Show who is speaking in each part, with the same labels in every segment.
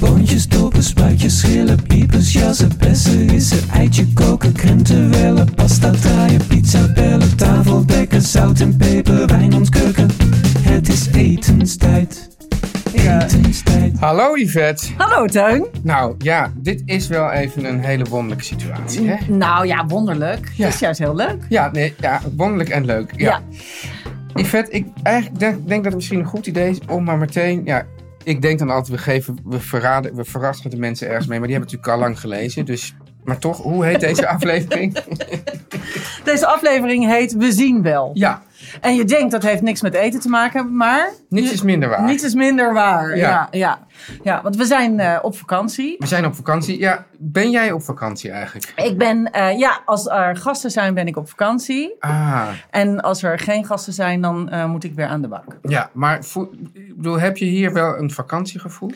Speaker 1: Boontjes, dopen, spuitjes, schillen, piepers, jassen, bessen, rissen, eitje koken, krenten wellen, pasta draaien, pizza bellen, tafel dekken, zout en peper, wijn ontkurken. Het is etenstijd, etenstijd.
Speaker 2: Hallo Yvette.
Speaker 3: Hallo Teun.
Speaker 2: Nou ja, dit is wel even een hele wonderlijke situatie, hè?
Speaker 3: Nou ja, wonderlijk.
Speaker 2: Ja.
Speaker 3: Dat is juist heel leuk.
Speaker 2: Ja, nee, ja, wonderlijk en leuk. Ja. Yvette, ik eigenlijk denk, denk dat het misschien een goed idee is om maar meteen... Ja, ik denk dan altijd, we, geven, we, verraden, we verrassen de mensen ergens mee. Maar die hebben het natuurlijk al lang gelezen, dus... Maar toch, hoe heet deze aflevering?
Speaker 3: Deze aflevering heet We zien wel.
Speaker 2: ja,
Speaker 3: En je denkt dat heeft niks met eten te maken, maar
Speaker 2: niets is minder waar.
Speaker 3: niets is minder waar.
Speaker 2: Ja.
Speaker 3: Ja, ja, ja. want we zijn eh, op vakantie.
Speaker 2: We zijn op vakantie. Ja, ben jij op vakantie eigenlijk?
Speaker 3: Ik ben, eh, ja, als er gasten zijn ben ik op vakantie.
Speaker 2: Ah,
Speaker 3: En als er geen gasten zijn, dan eh, moet ik weer aan de bak.
Speaker 2: ja. Maar voel- ik bedoel, heb je hier wel een vakantiegevoel?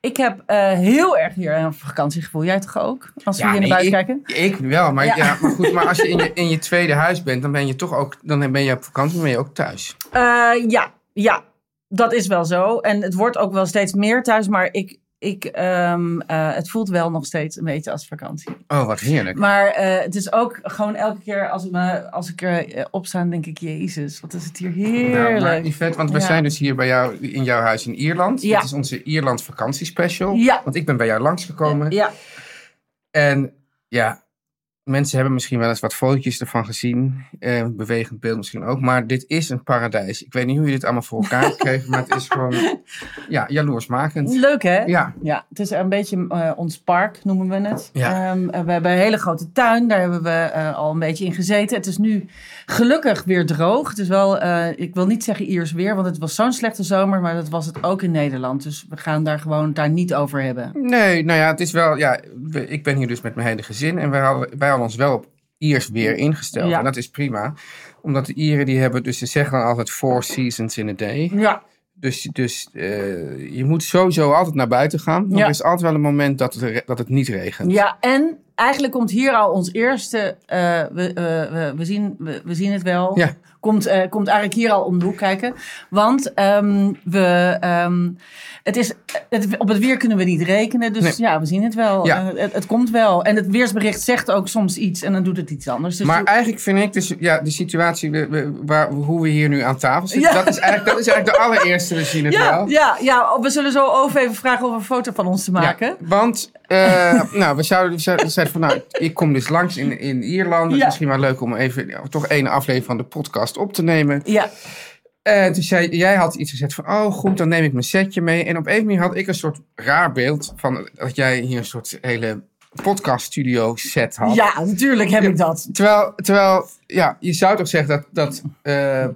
Speaker 3: Ik heb eh, heel erg hier een vakantiegevoel. Jij toch ook? Als we
Speaker 2: nee,
Speaker 3: hier naar buiten
Speaker 2: ik-
Speaker 3: kijken.
Speaker 2: Ik wel, maar, ja.
Speaker 3: Ja.
Speaker 2: maar goed, maar als je in, je in je tweede huis bent, dan ben je toch ook, dan ben je op vakantie, maar ben je ook thuis.
Speaker 3: Eh, ja, ja, dat is wel zo. En het wordt ook wel steeds meer thuis, maar ik, ik, ehm, eh, het voelt wel nog steeds een beetje als vakantie.
Speaker 2: Oh, wat heerlijk.
Speaker 3: Maar eh, het is ook gewoon elke keer als, ik me, als ik eh, opsta, denk ik, Jezus, wat is het hier
Speaker 2: Nou, maar
Speaker 3: heerlijk.
Speaker 2: Yvette, want we
Speaker 3: Ja.
Speaker 2: zijn dus hier bij jou in jouw huis in Ierland.
Speaker 3: Ja.
Speaker 2: Dit is onze Ierland vakantiespecial.
Speaker 3: Ja.
Speaker 2: Want ik ben bij jou langsgekomen.
Speaker 3: ja,
Speaker 2: En ja, mensen hebben misschien wel eens wat fotootjes ervan gezien. Eh, bewegend beeld misschien ook. Maar dit is een paradijs. Ik weet niet hoe je dit allemaal voor elkaar kreeg, maar het is gewoon ja, jaloersmakend.
Speaker 3: leuk hè?
Speaker 2: Ja.
Speaker 3: Ja, het is een beetje eh, ons park, noemen we het.
Speaker 2: Ja.
Speaker 3: Ehm, eh, we hebben een hele grote tuin, daar hebben we eh, al een beetje in gezeten. Het is nu gelukkig weer droog. Het is wel, eh, ik wil niet zeggen Iers weer, want het was zo'n slechte zomer, maar dat was het ook in Nederland. Dus we gaan daar gewoon daar niet over hebben.
Speaker 2: Nee, nou ja, het is wel. Ja, we- ik ben hier dus met mijn hele gezin. En wij hadden, wij hadden ons wel op Iers weer ingesteld.
Speaker 3: Ja.
Speaker 2: En dat is prima. Omdat de Ieren die hebben, dus ze zeggen dan altijd four seasons in a day.
Speaker 3: Ja,
Speaker 2: Dus, dus eh, je moet sowieso altijd naar buiten gaan. Maar
Speaker 3: Ja.
Speaker 2: er is altijd wel een moment dat het, re- dat het niet regent.
Speaker 3: ja en eigenlijk komt hier al ons eerste, eh, we, eh, we, we, zien, we, we zien het wel.
Speaker 2: Ja.
Speaker 3: Komt, eh, komt eigenlijk hier al om de hoek kijken. Want ehm, we, ehm, het is, het, op het weer kunnen we niet rekenen. Dus
Speaker 2: Nee.
Speaker 3: ja, we zien het wel.
Speaker 2: Ja.
Speaker 3: Eh, het, het komt wel. En het weersbericht zegt ook soms iets en dan doet het iets anders. Dus
Speaker 2: Maar
Speaker 3: doe-
Speaker 2: eigenlijk vind ik dus, ja, de situatie we- we- waar, hoe we hier nu aan tafel zitten,
Speaker 3: Ja.
Speaker 2: dat, is eigenlijk, dat is eigenlijk de allereerste, we zien het
Speaker 3: ja,
Speaker 2: wel.
Speaker 3: ja, ja, Oh, we zullen zo over even vragen om een foto van ons te maken.
Speaker 2: Ja, want eh, nou, we zouden, we zouden- we zeiden van, nou, ik kom dus langs in, in Ierland. Het is
Speaker 3: Ja.
Speaker 2: misschien wel leuk om even ja, toch één aflevering van de podcast op te nemen.
Speaker 3: Ja.
Speaker 2: En toen zei, jij had iets gezegd van, oh goed, dan neem ik mijn setje mee. En op een manier had ik een soort raar beeld van dat jij hier een soort hele podcaststudio set had.
Speaker 3: ja, natuurlijk heb ik dat.
Speaker 2: Terwijl, terwijl ja, je zou toch zeggen dat, dat eh,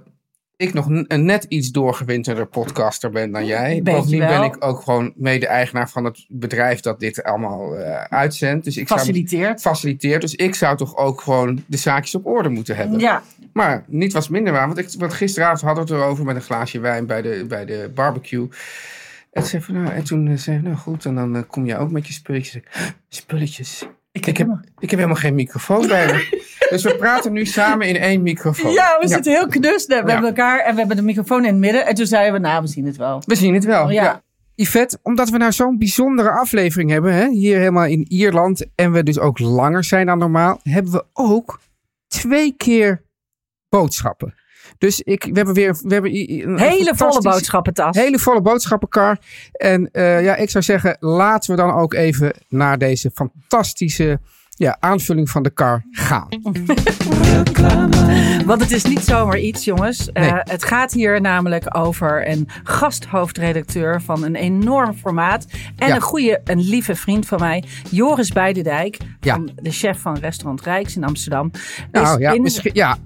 Speaker 2: ik nog n- een net iets doorgewinterder podcaster ben dan jij.
Speaker 3: Beetje
Speaker 2: Bovendien ben
Speaker 3: wel.
Speaker 2: ik ook gewoon mede-eigenaar van het bedrijf dat dit allemaal eh, uitzendt. Dus ik
Speaker 3: Faciliteert.
Speaker 2: Zou, faciliteert. Dus ik zou toch ook gewoon de zaakjes op orde moeten hebben.
Speaker 3: Ja,
Speaker 2: Maar niet was minder waar. Want, ik, want gisteravond hadden we het erover met een glaasje wijn bij de, bij de barbecue. En, toen zei van, nou, en toen eh, zei ik, nou goed, en dan eh, kom jij ook met je spulletjes. Ik zei, Spulletjes?
Speaker 3: ik
Speaker 2: Ik heb, ik heb helemaal geen microfoon bij me. Dus we praten nu samen in één microfoon.
Speaker 3: Ja, we zitten heel knus We hebben
Speaker 2: Ja.
Speaker 3: elkaar en we hebben de microfoon in het midden. En toen zeiden we, nou, we zien het wel.
Speaker 2: We zien het wel.
Speaker 3: Ja.
Speaker 2: Ja. Yvette, omdat we nou zo'n bijzondere aflevering hebben, hè, hier helemaal in Ierland, en we dus ook langer zijn dan normaal, hebben we ook twee keer boodschappen. Dus ik, we hebben weer we hebben i- i- een
Speaker 3: Hele volle
Speaker 2: fantastische-
Speaker 3: boodschappentas.
Speaker 2: Hele volle boodschappenkar. En eh, ja, ik zou zeggen, laten we dan ook even naar deze fantastische ja, aanvulling van de kar gaan.
Speaker 3: Want het is niet zomaar iets, jongens. Eh,
Speaker 2: Nee.
Speaker 3: het gaat hier namelijk over een gasthoofdredacteur van een enorm formaat. En
Speaker 2: Ja.
Speaker 3: een goede, een lieve vriend van mij, Joris Beidendijk.
Speaker 2: Ja.
Speaker 3: Van de chef van Restaurant Rijks in Amsterdam.
Speaker 2: Nou
Speaker 3: Is
Speaker 2: ja,
Speaker 3: in-
Speaker 2: misschien, ja.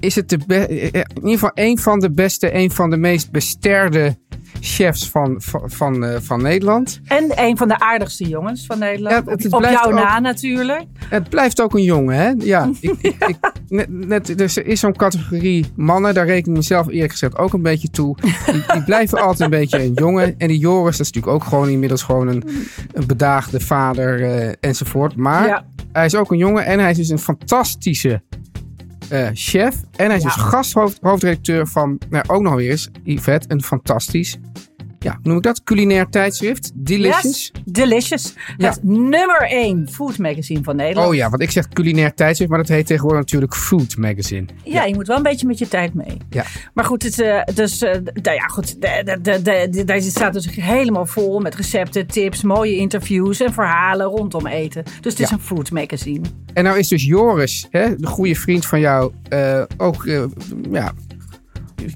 Speaker 2: Is het de be- eh, eh, in ieder geval een van de beste, een van de meest besterde chefs van, van, van, eh, van Nederland.
Speaker 3: En een van de aardigste jongens van Nederland.
Speaker 2: Ja, het- het
Speaker 3: op
Speaker 2: blijft
Speaker 3: jou
Speaker 2: ook-
Speaker 3: na natuurlijk.
Speaker 2: Het blijft ook een jongen, hè? Ja. Ik, ik, net, net- dus er is zo'n categorie mannen, daar reken ik mezelf eerlijk gezegd ook een beetje toe. Die, die blijven altijd een beetje een jongen. En die Joris, dat is natuurlijk ook gewoon inmiddels gewoon een, een bedaagde vader eh, enzovoort. Maar
Speaker 3: Ja.
Speaker 2: hij is ook een jongen en hij is dus een fantastische eh, chef. En hij is dus gasthoofdredacteur van, nou, ook nog weer eens, Yvette, een fantastisch, ja, hoe noem ik dat? Culinair tijdschrift, Delicious.
Speaker 3: Yes, delicious.
Speaker 2: Ja.
Speaker 3: Het nummer 1 food magazine van Nederland.
Speaker 2: Oh ja, want ik zeg culinair tijdschrift, maar dat heet tegenwoordig natuurlijk Food Magazine.
Speaker 3: ja. je moet wel een beetje met je tijd mee.
Speaker 2: Ja.
Speaker 3: Maar goed, het, eh, dus, eh, nou ja, goed de, de, de, de- de- deze staat dus helemaal vol met recepten, tips, mooie interviews en verhalen rondom eten. Dus het is
Speaker 2: Ja.
Speaker 3: een food magazine.
Speaker 2: En nou is dus Joris, hè, de goede vriend van jou, eh, ook, eh, ja,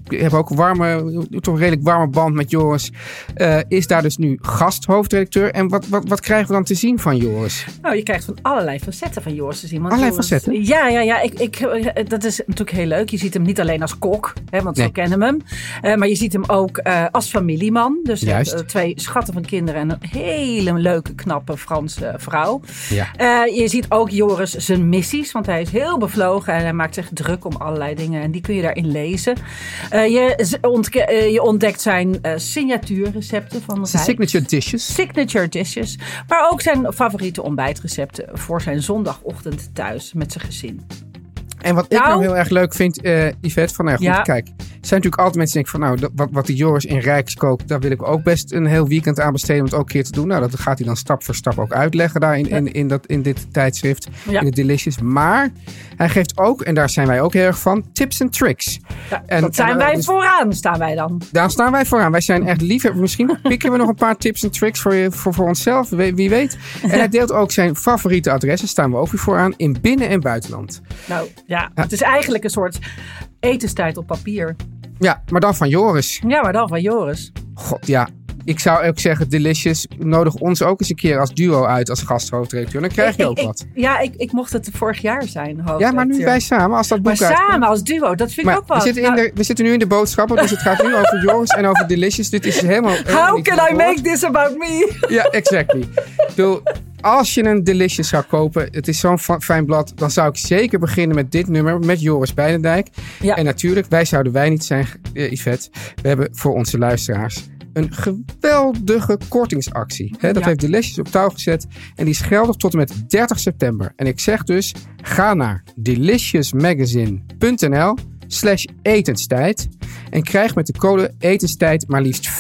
Speaker 2: ik heb ook een warme, toch een redelijk warme band met Joris, eh, is daar dus nu gasthoofdredacteur. En wat, wat, wat krijgen we dan te zien van Joris?
Speaker 3: Nou, je krijgt van allerlei facetten van Joris te zien. want
Speaker 2: Allerlei
Speaker 3: Joris-
Speaker 2: facetten?
Speaker 3: Ja, ja, ja. Ik, ik, eh, dat is natuurlijk heel leuk. Je ziet hem niet alleen als kok, hè, want
Speaker 2: Nee.
Speaker 3: zo kennen we hem. Eh, maar je ziet hem ook eh, als familieman. Dus hij heeft,
Speaker 2: Juist.
Speaker 3: eh, twee schatten van kinderen en een hele leuke, knappe Franse eh, vrouw.
Speaker 2: Ja.
Speaker 3: Eh, je ziet ook Joris zijn missies, want hij is heel bevlogen en hij maakt zich druk om allerlei dingen. En die kun je daarin lezen. Eh, je, z- ontke- eh, je ontdekt zijn eh, signatuurrecepten van
Speaker 2: Zijn
Speaker 3: Rijk
Speaker 2: signature dishes.
Speaker 3: signature dishes. Maar ook zijn favoriete ontbijtrecepten voor zijn zondagochtend thuis met zijn gezin.
Speaker 2: En wat ik
Speaker 3: Nou.
Speaker 2: nou heel erg leuk vind, eh Yvette, van nou goed,
Speaker 3: Ja.
Speaker 2: kijk. Er zijn natuurlijk altijd mensen die denken van nou, dat- wat, wat die Joris in Rijks kookt, daar wil ik ook best een heel weekend aan besteden om het ook een keer te doen. Nou, dat gaat hij dan stap voor stap ook uitleggen daar in, in, in, dat, in dit tijdschrift,
Speaker 3: Ja.
Speaker 2: in het Delicious. Maar hij geeft ook, en daar zijn wij ook heel erg van, tips en tricks.
Speaker 3: Ja,
Speaker 2: En-
Speaker 3: dat zijn
Speaker 2: en, eh,
Speaker 3: wij
Speaker 2: dus-
Speaker 3: vooraan, staan wij dan.
Speaker 2: Daar staan wij vooraan. Wij zijn echt liefhebbers. Misschien pikken we nog een paar tips en tricks voor, je, voor, voor onszelf. Wie, wie weet. En hij deelt ook zijn favoriete adressen. Staan we ook weer vooraan. In binnen- en buitenland.
Speaker 3: Nou ja, het is eigenlijk een soort etenstijd op papier.
Speaker 2: Ja, maar dan van Joris.
Speaker 3: Ja, maar dan van Joris.
Speaker 2: God, ja. Ik zou ook zeggen, Delicious, nodig ons ook eens een keer als duo uit als gasthoofdredacteur. Dan krijg je
Speaker 3: Ik-
Speaker 2: ook
Speaker 3: ik-
Speaker 2: wat.
Speaker 3: Ja, ik, ik mocht het vorig jaar zijn.
Speaker 2: Ja, maar nu
Speaker 3: hoofdredacteur.
Speaker 2: wij samen, als dat
Speaker 3: Maar
Speaker 2: boek uitkomt.
Speaker 3: samen als duo, dat vind ik
Speaker 2: Maar
Speaker 3: ook wel. Nou,
Speaker 2: we zitten, in de, we zitten nu in de boodschappen, dus het gaat nu over Joris en over Delicious. Dit is helemaal... helemaal
Speaker 3: How
Speaker 2: niet
Speaker 3: can I
Speaker 2: verantwoord.
Speaker 3: make this about me?
Speaker 2: Ja, exactly. Ik bedoel, als je een Delicious zou kopen, het is zo'n fa- fijn blad, dan zou ik zeker beginnen met dit nummer, met Joris Beidendijk.
Speaker 3: Ja.
Speaker 2: En natuurlijk, wij zouden wij niet zijn, eh, Yvette. We hebben voor onze luisteraars een geweldige kortingsactie. Hè, dat
Speaker 3: Ja.
Speaker 2: heeft Delicious op touw gezet en die is geldig tot en met 30 september. En ik zeg dus, ga naar deliciousmagazine.nl slash etenstijd en krijg met de code etenstijd maar liefst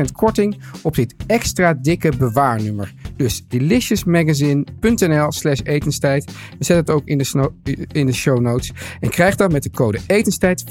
Speaker 2: 25% korting op dit extra dikke bewaarnummer. Dus deliciousmagazine.nl slash etenstijd. We zetten het ook in de, sno- in de show notes. En krijg dan met de code etenstijd 25%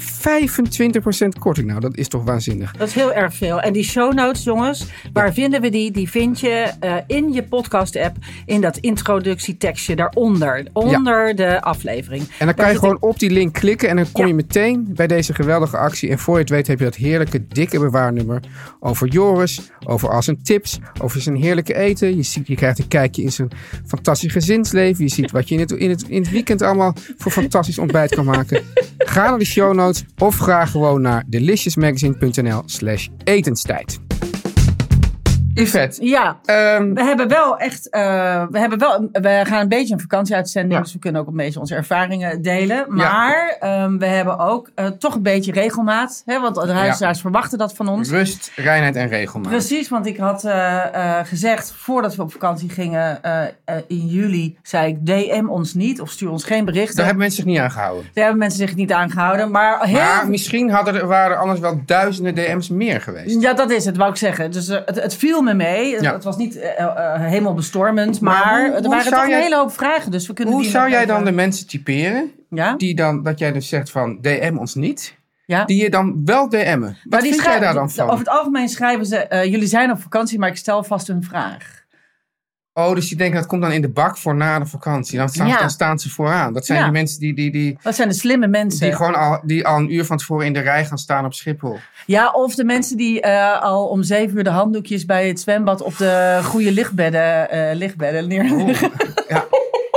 Speaker 2: korting. Nou, dat is toch waanzinnig.
Speaker 3: Dat is heel erg veel. En die show notes, jongens, waar vinden we die? Die vind je eh, in je podcast-app, in dat introductietekstje daaronder. Onder de aflevering.
Speaker 2: En dan kan je gewoon op die link klikken en dan kom je meteen bij deze geweldige actie. En voor je het weet heb je dat heerlijke dikke bewaarnummer over Joris, over al zijn tips, over zijn heerlijke eten. Je, ziet, je krijgt een kijkje in zijn fantastisch gezinsleven. Je ziet wat je in het, in het, in het weekend allemaal voor fantastisch ontbijt kan maken. Ga naar de show notes of ga gewoon naar deliciousmagazine.nl slash etenstijd. Yvette,
Speaker 3: Ja,
Speaker 2: ehm,
Speaker 4: We hebben wel echt, eh, we, hebben wel, we gaan een beetje een vakantieuitzending, dus we kunnen ook een beetje onze ervaringen delen. Maar ehm, we hebben ook eh, toch een beetje regelmaat, hè, want de luisteraars verwachten dat van ons.
Speaker 2: rust, reinheid en regelmaat.
Speaker 4: Precies, want ik had eh, eh, gezegd voordat we op vakantie gingen eh, eh, in juli, zei ik DM ons niet of stuur ons geen berichten.
Speaker 2: Daar hebben mensen zich niet aan gehouden.
Speaker 4: Daar hebben mensen zich niet aan gehouden, maar heel
Speaker 2: Maar misschien hadden er, waren er anders wel duizenden DM's meer geweest.
Speaker 4: Ja, dat is het, wou ik zeggen. Dus eh, het, het viel
Speaker 3: me mee.
Speaker 2: Ja.
Speaker 3: Het was niet eh, eh, helemaal bestormend, maar,
Speaker 2: Maar hoe-
Speaker 3: er
Speaker 2: hoe
Speaker 3: waren
Speaker 2: zou
Speaker 3: toch een
Speaker 2: jij-
Speaker 3: hele hoop vragen. Dus we kunnen
Speaker 2: Hoe
Speaker 3: die
Speaker 2: zou
Speaker 3: nog
Speaker 2: jij
Speaker 3: even-
Speaker 2: dan de mensen typeren
Speaker 3: Ja?
Speaker 2: die dan, dat jij dus zegt van DM ons niet,
Speaker 3: Ja.
Speaker 2: die je dan wel DM'en? Wat
Speaker 3: die
Speaker 2: vind jij
Speaker 3: schrij-
Speaker 2: daar dan van?
Speaker 3: Over het algemeen schrijven ze, eh, jullie zijn op vakantie, maar ik stel vast een vraag.
Speaker 2: Oh, dus die denken dat komt dan in de bak voor na de vakantie. Dan staan,
Speaker 3: Ja.
Speaker 2: dan staan ze vooraan. Dat zijn
Speaker 3: Ja.
Speaker 2: die mensen die, die, die,
Speaker 3: Dat zijn de slimme mensen.
Speaker 2: die gewoon al, die al een uur van tevoren in de rij gaan staan op Schiphol.
Speaker 3: Ja, of de mensen die eh, al om zeven uur de handdoekjes bij het zwembad op de goede lichtbedden, eh lichtbedden neerleggen.
Speaker 2: Ja.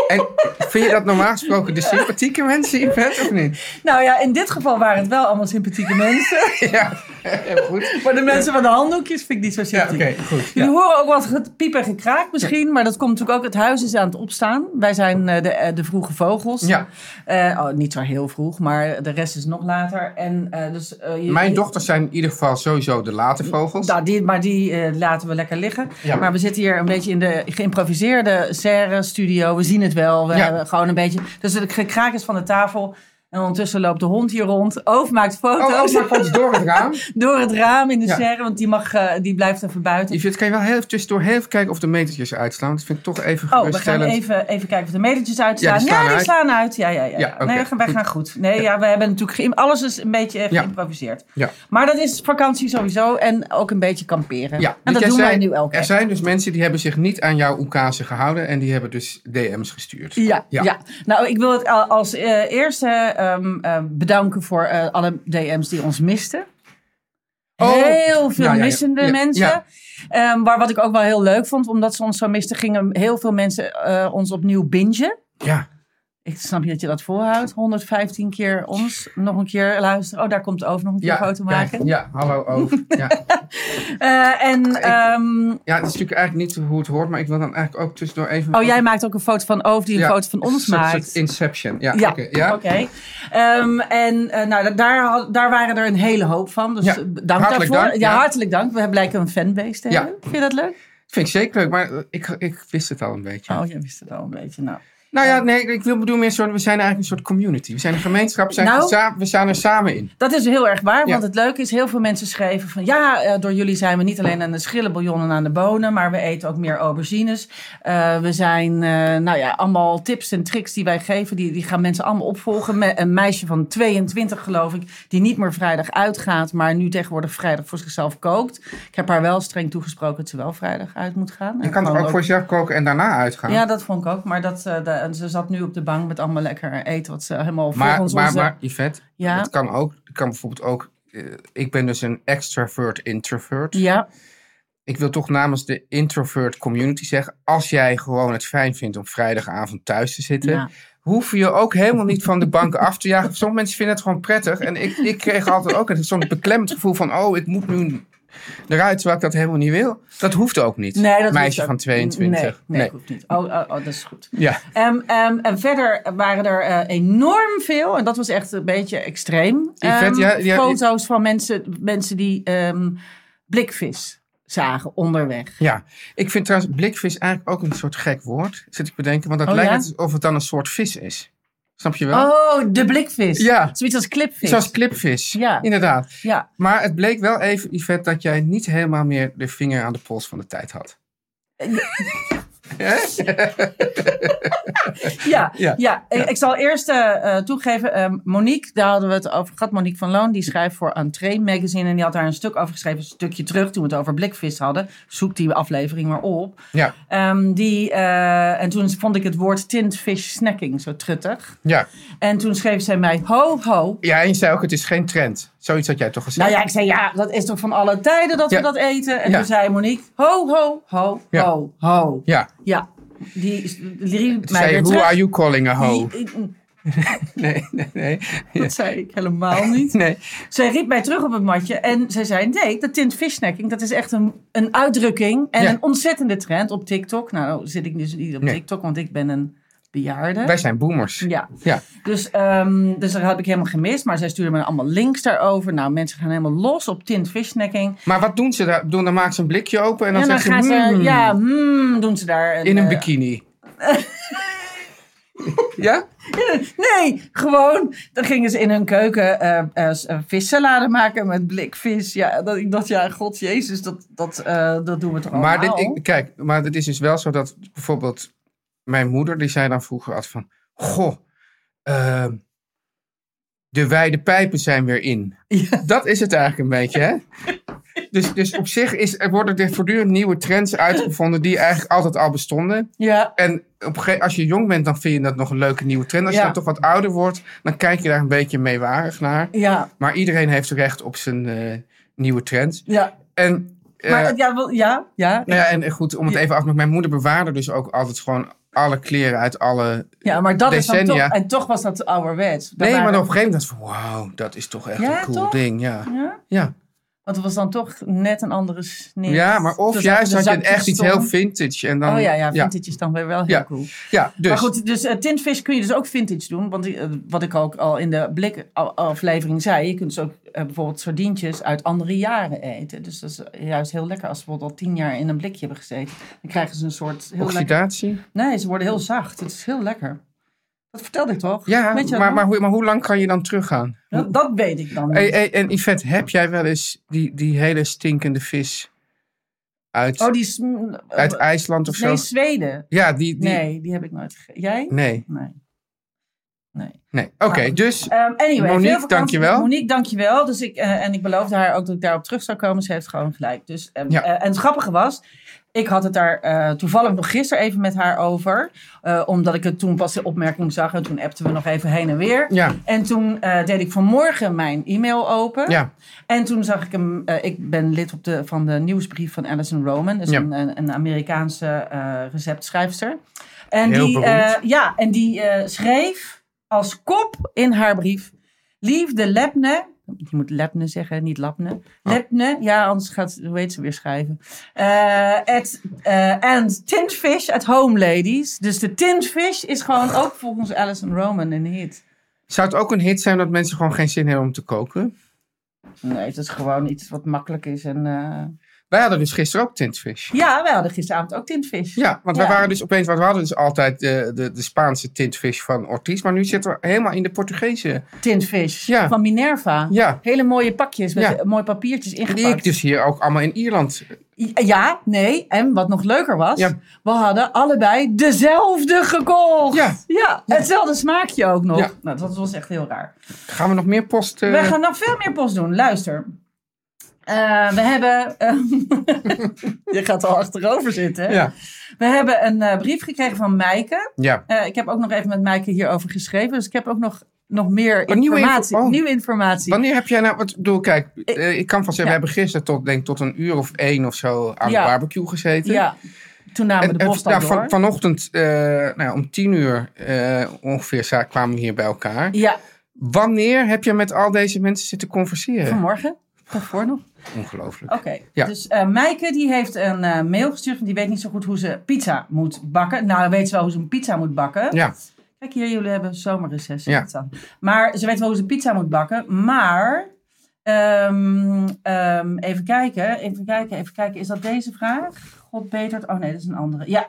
Speaker 2: En vind je dat normaal gesproken de sympathieke mensen, Yvette, of niet?
Speaker 3: Nou ja, in dit geval waren het wel allemaal sympathieke mensen.
Speaker 2: Ja, ja goed.
Speaker 3: Maar de mensen van de handdoekjes vind ik niet zo
Speaker 2: Ja, oké,
Speaker 3: sympathiek.
Speaker 2: goed.
Speaker 3: Jullie
Speaker 2: Ja.
Speaker 3: horen ook wat ge- piep en gekraak misschien, maar dat komt natuurlijk ook. Het huis is aan het opstaan. Wij zijn eh, de, eh, de vroege vogels.
Speaker 2: Ja.
Speaker 3: Eh, oh, niet zo heel vroeg, maar de rest is nog later. En, eh, dus, eh, je-
Speaker 2: Mijn
Speaker 3: je-
Speaker 2: dochters zijn in ieder geval sowieso de late vogels.
Speaker 3: Nou, die, maar die eh, laten we lekker liggen.
Speaker 2: Ja.
Speaker 3: Maar we zitten hier een beetje in de geïmproviseerde serre-studio. We zien het wel. We
Speaker 2: Ja.
Speaker 3: hebben gewoon een beetje... Dus het gekraak is van de tafel. En ondertussen loopt de hond hier rond. Oof maakt
Speaker 2: Oh,
Speaker 3: foto's
Speaker 2: oh, maar komt door het raam.
Speaker 3: door het raam in de
Speaker 2: Ja.
Speaker 3: serre. Want die, mag, eh, die blijft even buiten.
Speaker 2: Yvette, kan je wel heel even tussendoor heel even kijken of de metertjes uitslaan? Dat vind ik toch even
Speaker 3: Oh, we gaan
Speaker 2: geruststellend.
Speaker 3: even, even kijken of de metertjes
Speaker 2: Ja,
Speaker 3: uitstaan. Ja,
Speaker 2: die slaan
Speaker 3: die
Speaker 2: uit.
Speaker 3: slaan uit. Ja, ja, ja.
Speaker 2: Ja, oké,
Speaker 3: nee, we gaan- wij
Speaker 2: goed.
Speaker 3: gaan goed. Nee, ja. we hebben natuurlijk... geïm- Alles is een beetje eh,
Speaker 2: Ja.
Speaker 3: geïmproviseerd.
Speaker 2: Ja.
Speaker 3: Maar dat is vakantie sowieso. En ook een beetje kamperen.
Speaker 2: Ja,
Speaker 3: en
Speaker 2: want
Speaker 3: dat
Speaker 2: jij
Speaker 3: doen
Speaker 2: zei,
Speaker 3: wij nu elke
Speaker 2: Er
Speaker 3: keer.
Speaker 2: zijn dus mensen die hebben zich niet aan jouw oekase gehouden en die hebben dus DM's gestuurd.
Speaker 3: Ja,
Speaker 2: Ja.
Speaker 3: ja. nou ik wil het al- als eh, eerste ehm, eh, bedanken voor eh, alle DM's die ons misten.
Speaker 2: Oh.
Speaker 3: Heel veel
Speaker 2: Ja, ja, ja.
Speaker 3: missende
Speaker 2: Ja,
Speaker 3: mensen.
Speaker 2: ja.
Speaker 3: Ehm, maar wat ik ook wel heel leuk vond, omdat ze ons zo misten, gingen heel veel mensen eh, ons opnieuw bingen.
Speaker 2: Ja.
Speaker 3: Ik snap niet dat je dat volhoudt. 115 keer ons, nog een keer luisteren. Oh, daar komt over nog een keer
Speaker 2: Ja,
Speaker 3: foto
Speaker 2: kijk,
Speaker 3: maken.
Speaker 2: ja, hallo over. Ja.
Speaker 3: Eh, en, ehm,
Speaker 2: ja, het is natuurlijk eigenlijk niet hoe het hoort, maar ik wil dan eigenlijk ook tussendoor even...
Speaker 3: oh, jij maakt ook een foto van Oof die een
Speaker 2: Ja,
Speaker 3: foto van ons
Speaker 2: een soort-
Speaker 3: maakt.
Speaker 2: soort Inception, ja.
Speaker 3: Ja,
Speaker 2: Ah, oké,
Speaker 3: oké.
Speaker 2: ja?
Speaker 3: Ehm, en eh, nou, da- daar, had- daar waren er een hele hoop van. Dus
Speaker 2: Ja,
Speaker 3: eh, dank
Speaker 2: hartelijk
Speaker 3: daarvoor.
Speaker 2: dank,
Speaker 3: ja,
Speaker 2: ja.
Speaker 3: hartelijk dank. We blijken een fanbase te
Speaker 2: Ja.
Speaker 3: hebben. Vind je dat leuk?
Speaker 2: Vind ik zeker leuk, maar eh, ik, ik wist het al een beetje.
Speaker 3: Oh, jij wist het al een beetje. Nou,
Speaker 2: Nou ja, nee, ik wil bedoelen meer soort, we zijn eigenlijk een soort community. We zijn een gemeenschap, we zijn,
Speaker 3: Nou.
Speaker 2: geza- we staan er samen in.
Speaker 3: dat is heel erg waar. Want
Speaker 2: Ja.
Speaker 3: het leuke is, heel veel mensen schreven van... ja, eh, door jullie zijn we niet alleen aan de schillenbouillon en aan de bonen... maar we eten ook meer aubergines. Eh, we zijn, eh, nou ja, allemaal tips en tricks die wij geven... die, die gaan mensen allemaal opvolgen. Me- een meisje van 22, geloof ik, die niet meer vrijdag uitgaat... maar nu tegenwoordig vrijdag voor zichzelf kookt. Ik heb haar wel streng toegesproken dat ze wel vrijdag uit moet gaan.
Speaker 2: Je kan toch ook voor jezelf koken en daarna uitgaan?
Speaker 3: Ja, dat vond ik ook. Maar dat, eh, de- ze zat nu op de bank met allemaal lekker eten... wat ze helemaal
Speaker 2: maar,
Speaker 3: volgens
Speaker 2: maar,
Speaker 3: onze...
Speaker 2: maar Yvette,
Speaker 3: Ja.
Speaker 2: dat kan ook. Dat kan bijvoorbeeld ook... eh, ik ben dus een extravert-introvert.
Speaker 3: Ja,
Speaker 2: ik wil toch namens de introvert community zeggen: als jij gewoon het fijn vindt om vrijdagavond thuis te zitten,
Speaker 3: Ja.
Speaker 2: hoef je je ook helemaal niet van de banken af te jagen. Sommige mensen vinden het gewoon prettig. En ik, ik kreeg altijd ook een soort beklemmend gevoel van: oh, ik moet nu eruit terwijl ik dat helemaal niet wil. Dat hoeft ook niet.
Speaker 3: Nee, dat hoeft
Speaker 2: Meisje
Speaker 3: ook-
Speaker 2: van 22.
Speaker 3: Nee, nee, dat hoeft niet. Oh, oh, oh, dat is goed.
Speaker 2: Ja.
Speaker 3: Ehm, ehm, en verder waren er eh, enorm veel, en dat was echt een beetje extreem,
Speaker 2: Yvette,
Speaker 3: ehm,
Speaker 2: ja, ja,
Speaker 3: foto's van mensen, mensen die ehm, blikvis zagen onderweg.
Speaker 2: Ja, ik vind trouwens blikvis eigenlijk ook een soort gek woord. Zit ik te bedenken, want dat
Speaker 3: Oh,
Speaker 2: lijkt
Speaker 3: ja?
Speaker 2: net alsof het dan een soort vis is. Snap je wel?
Speaker 3: Oh, de blikvis.
Speaker 2: Ja.
Speaker 3: Zoiets als clipvis.
Speaker 2: Zoals clipvis.
Speaker 3: Ja.
Speaker 2: Inderdaad.
Speaker 3: Ja.
Speaker 2: Maar het bleek wel even, Yvette, dat jij niet helemaal meer de vinger aan de pols van de tijd had.
Speaker 3: Ja,
Speaker 2: Ja.
Speaker 3: ja. Ik, ik zal eerst eh, eh, toegeven, eh, Monique, daar hadden we het over gehad. Monique van Loon, die schrijft voor Entree Magazine. En die had daar een stuk over geschreven, een stukje terug, toen we het over blikvis hadden. Zoek die aflevering maar op.
Speaker 2: Ja,
Speaker 3: Ehm, die, eh, en toen vond ik het woord tintfish snacking zo truttig.
Speaker 2: ja.
Speaker 3: En toen schreef zij mij, ho, ho.
Speaker 2: Ja, en je zei ook, het is geen trend. Zoiets had jij toch gezegd?
Speaker 3: Nou ja, ik zei, ja, dat is toch van alle tijden dat
Speaker 2: Ja.
Speaker 3: we dat eten? En
Speaker 2: Ja.
Speaker 3: toen zei Monique, ho, ho, ho,
Speaker 2: Ja.
Speaker 3: ho, ho.
Speaker 2: ja.
Speaker 3: Ja, die is- die riep
Speaker 2: Toen
Speaker 3: mij
Speaker 2: zei je,
Speaker 3: weer
Speaker 2: who
Speaker 3: terug.
Speaker 2: are you calling a hoe?
Speaker 3: Die-
Speaker 2: Nee, nee, nee.
Speaker 3: Dat zei ik helemaal niet.
Speaker 2: Nee.
Speaker 3: Zij riep mij terug op het matje en zij zei: Nee, dat tint visnacking, dat is echt een, een uitdrukking en
Speaker 2: Ja.
Speaker 3: een ontzettende trend op TikTok. Nou, zit ik dus niet op
Speaker 2: Nee.
Speaker 3: TikTok, want ik ben een bejaarde.
Speaker 2: Wij zijn boomers.
Speaker 3: Ja.
Speaker 2: Ja.
Speaker 3: Dus, ehm, dus dat heb ik helemaal gemist. Maar zij stuurde me allemaal links daarover. Nou, mensen gaan helemaal los op tint visnacking.
Speaker 2: Maar wat doen ze daar? Ik bedoel, Dan maken ze een blikje open en dan, hmm.
Speaker 3: En dan
Speaker 2: zeggen
Speaker 3: gaan eh,
Speaker 2: ze,
Speaker 3: ze,
Speaker 2: "Mm,"
Speaker 3: ja, hmm, doen ze daar.
Speaker 2: in een
Speaker 3: eh,
Speaker 2: bikini. Ja?
Speaker 3: Nee, gewoon. Dan gingen ze in hun keuken eh, eh, s- eh, vissalade maken met blikvis. Ja, dat, ik dacht, ja, god jezus, dat, dat, eh, dat doen we toch allemaal?
Speaker 2: Maar dit, ik, kijk, maar het is dus wel zo dat bijvoorbeeld mijn moeder, die zei dan vroeger altijd van, goh, ehm, de wijde pijpen zijn weer in. Dat is het eigenlijk een beetje, hè? Dus, dus op zich is, er worden er voortdurend nieuwe trends uitgevonden die eigenlijk altijd al bestonden.
Speaker 3: Ja,
Speaker 2: En op een gegeven, als je jong bent, dan vind je dat nog een leuke nieuwe trend. Als je
Speaker 3: Ja.
Speaker 2: dan toch wat ouder wordt, dan kijk je daar een beetje meewarig naar.
Speaker 3: ja,
Speaker 2: Maar iedereen heeft recht op zijn eh, nieuwe trends.
Speaker 3: ja.
Speaker 2: En, eh,
Speaker 3: Maar het- ja, wel- ja, ja.
Speaker 2: nou ja, en goed, om het even af te maken. Mijn moeder bewaarde dus ook altijd gewoon alle kleren uit alle...
Speaker 3: Ja, maar dat is dan
Speaker 2: decennia.
Speaker 3: toch... En toch was dat ouderwets. Dat
Speaker 2: Nee, maar
Speaker 3: waren-
Speaker 2: op een gegeven moment dacht ik van, wauw, dat is toch echt
Speaker 3: Ja,
Speaker 2: een cool
Speaker 3: toch?
Speaker 2: ding. Ja,
Speaker 3: Ja?
Speaker 2: ja.
Speaker 3: Want het was dan toch net een andere sneer.
Speaker 2: ja maar of juist had je echt iets heel vintage. En dan,
Speaker 3: Oh ja, ja, vintage is dan weer wel heel
Speaker 2: Ja.
Speaker 3: cool.
Speaker 2: Ja, dus.
Speaker 3: Maar goed, dus eh, tintvis kun je dus ook vintage doen. Want eh, wat ik ook al in de blikaflevering zei, je kunt dus ook eh, bijvoorbeeld sardientjes uit andere jaren eten. Dus dat is juist heel lekker als ze bijvoorbeeld al tien jaar in een blikje hebben gezeten. Dan krijgen ze een soort heel lekker...
Speaker 2: Oxidatie.
Speaker 3: Nee, ze worden heel zacht. Het is heel lekker. Dat vertelde ik toch?
Speaker 2: Ja,
Speaker 3: Weet je dat
Speaker 2: maar,
Speaker 3: nog?
Speaker 2: maar, hoe, maar hoe lang kan je dan teruggaan?
Speaker 3: dat, dat weet ik dan niet.
Speaker 2: Hey, hey, en Yvette, heb jij wel eens die, die hele stinkende vis uit,
Speaker 3: Oh, die is... mm,
Speaker 2: uit
Speaker 3: eh,
Speaker 2: IJsland of
Speaker 3: Nee,
Speaker 2: zo?
Speaker 3: Zweden.
Speaker 2: Ja, die... die
Speaker 3: Nee, die heb ik nooit gegeten. Jij?
Speaker 2: Nee,
Speaker 3: Nee. Nee.
Speaker 2: nee. Oké, dus...
Speaker 3: Ehm, anyway,
Speaker 2: Monique,
Speaker 3: veel vakantie-
Speaker 2: dankjewel.
Speaker 3: Monique, dankjewel. Dus ik, eh, en ik beloofde haar ook dat ik daarop terug zou komen. Ze heeft gewoon gelijk. Dus, ehm,
Speaker 2: Ja.
Speaker 3: eh, en het grappige was, ik had het daar eh, toevallig nog gisteren even met haar over. eh, omdat ik het toen pas de opmerking zag. En toen appten we nog even heen en weer.
Speaker 2: Ja.
Speaker 3: En toen eh, deed ik vanmorgen mijn e-mail open.
Speaker 2: Ja.
Speaker 3: En toen zag ik hem. eh, ik ben lid op de, van de nieuwsbrief van Alison Roman. Dat is
Speaker 2: Ja.
Speaker 3: een, een, een Amerikaanse eh, receptschrijfster. En
Speaker 2: Heel
Speaker 3: die,
Speaker 2: beroemd.
Speaker 3: eh, ja, en die eh, schreef als kop in haar brief: Liefde Lepne. Je moet Lepne zeggen, niet Lapne.
Speaker 2: Oh.
Speaker 3: Lepne, ja, anders gaat, hoe heet ze weer schrijven? Eh at, eh, and Tintfish at Home Ladies. Dus de Tintfish is gewoon ook volgens Alison Roman een hit.
Speaker 2: Zou het ook een hit zijn dat mensen gewoon geen zin hebben om te koken?
Speaker 3: Nee, het is gewoon iets wat makkelijk is. En, eh,
Speaker 2: Wij hadden dus gisteren ook tintvis.
Speaker 3: Ja, wij hadden gisteravond ook tintvis.
Speaker 2: Ja, want wij
Speaker 3: Ja.
Speaker 2: waren dus opeens, want we hadden dus altijd de, de, de Spaanse tintvis van Ortiz, maar nu zitten we helemaal in de Portugese.
Speaker 3: Tintvis
Speaker 2: Ja.
Speaker 3: van Minerva.
Speaker 2: Ja.
Speaker 3: Hele mooie pakjes met
Speaker 2: Ja.
Speaker 3: eh, mooie papiertjes
Speaker 2: Die
Speaker 3: ingepakt.
Speaker 2: ik dus hier ook allemaal in Ierland.
Speaker 3: Ja, nee. En wat nog leuker was,
Speaker 2: Ja.
Speaker 3: we hadden allebei dezelfde gekocht.
Speaker 2: Ja.
Speaker 3: hetzelfde smaakje ook nog.
Speaker 2: Ja.
Speaker 3: Nou, dat was echt heel raar.
Speaker 2: Gaan we nog meer post? eh,
Speaker 3: Wij gaan nog veel meer post doen. Luister. Eh, we hebben... eh, je gaat al achterover zitten. hè?
Speaker 2: Ja.
Speaker 3: We hebben een eh, brief gekregen van Mijke.
Speaker 2: Ja.
Speaker 3: Eh, ik heb ook nog even met Maaike hierover geschreven. Dus ik heb ook nog, nog meer
Speaker 2: Oh, nieuwe
Speaker 3: informatie.
Speaker 2: info- oh.
Speaker 3: Nieuwe informatie.
Speaker 2: Wanneer heb jij nou, wat ik bedoel, kijk, eh, ik kan vast zeggen,
Speaker 3: ja.
Speaker 2: we hebben gisteren tot, denk, ik, tot een uur of één of zo aan
Speaker 3: Ja.
Speaker 2: de barbecue gezeten.
Speaker 3: Ja, toen namen
Speaker 2: En,
Speaker 3: de
Speaker 2: eh,
Speaker 3: post al
Speaker 2: ja,
Speaker 3: door.
Speaker 2: van, vanochtend eh, nou, ja, om tien uur eh, ongeveer za- kwamen we hier bij elkaar.
Speaker 3: Ja,
Speaker 2: Wanneer heb je met al deze mensen zitten converseren?
Speaker 3: vanmorgen. Daarvoor nog.
Speaker 2: Ongelooflijk.
Speaker 3: Oké,
Speaker 2: Ja.
Speaker 3: dus eh Maaike die heeft een eh, mail gestuurd. Want die weet niet zo goed hoe ze pizza moet bakken. Nou, dan weet ze wel hoe ze een pizza moet bakken.
Speaker 2: Ja,
Speaker 3: Kijk hier, jullie hebben zomerreces.
Speaker 2: Ja.
Speaker 3: Dat dan. Maar ze weet wel hoe ze pizza moet bakken. Maar, ehm, ehm, even kijken, even kijken, even kijken. Is dat deze vraag? God betert. Oh nee, dat is een andere. Ja.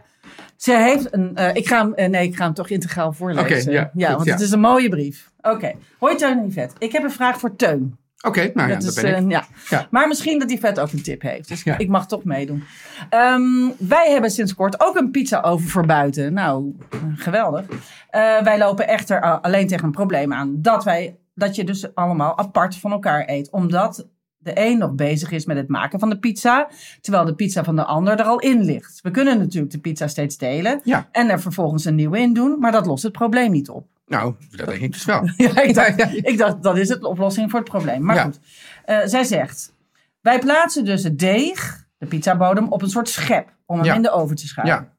Speaker 3: Ze heeft een. eh, ik, ga hem, eh, nee, ik ga hem toch integraal voorlezen.
Speaker 2: Oké, ja, goed,
Speaker 3: want
Speaker 2: ja.
Speaker 3: het is een mooie brief. Oké. Hoi Teun en Yvette. Ik heb een vraag voor Teun.
Speaker 2: oké, nou ja,
Speaker 3: Dat
Speaker 2: dat
Speaker 3: is,
Speaker 2: ben ik.
Speaker 3: eh, ja.
Speaker 2: Ja.
Speaker 3: Maar misschien dat die vet ook een tip heeft. Dus
Speaker 2: Ja.
Speaker 3: ik mag toch meedoen. Ehm, wij hebben sinds kort ook een pizza oven voor buiten. Nou, geweldig. Eh, wij lopen echter a- alleen tegen een probleem aan. Dat, wij, dat je dus allemaal apart van elkaar eet. Omdat de een nog bezig is met het maken van de pizza. Terwijl de pizza van de ander er al in ligt. We kunnen natuurlijk de pizza steeds delen.
Speaker 2: Ja.
Speaker 3: En er vervolgens een nieuwe in doen. Maar dat lost het probleem niet op.
Speaker 2: Nou, dat denk ik dus wel.
Speaker 3: Ja, ik dacht,
Speaker 2: Ja, ja.
Speaker 3: ik dacht dat is het, de oplossing voor het probleem. Maar
Speaker 2: Ja.
Speaker 3: goed, Eh, zij zegt, wij plaatsen dus het deeg, de pizzabodem, op een soort schep om hem
Speaker 2: Ja.
Speaker 3: in de oven te schuiven.
Speaker 2: Ja.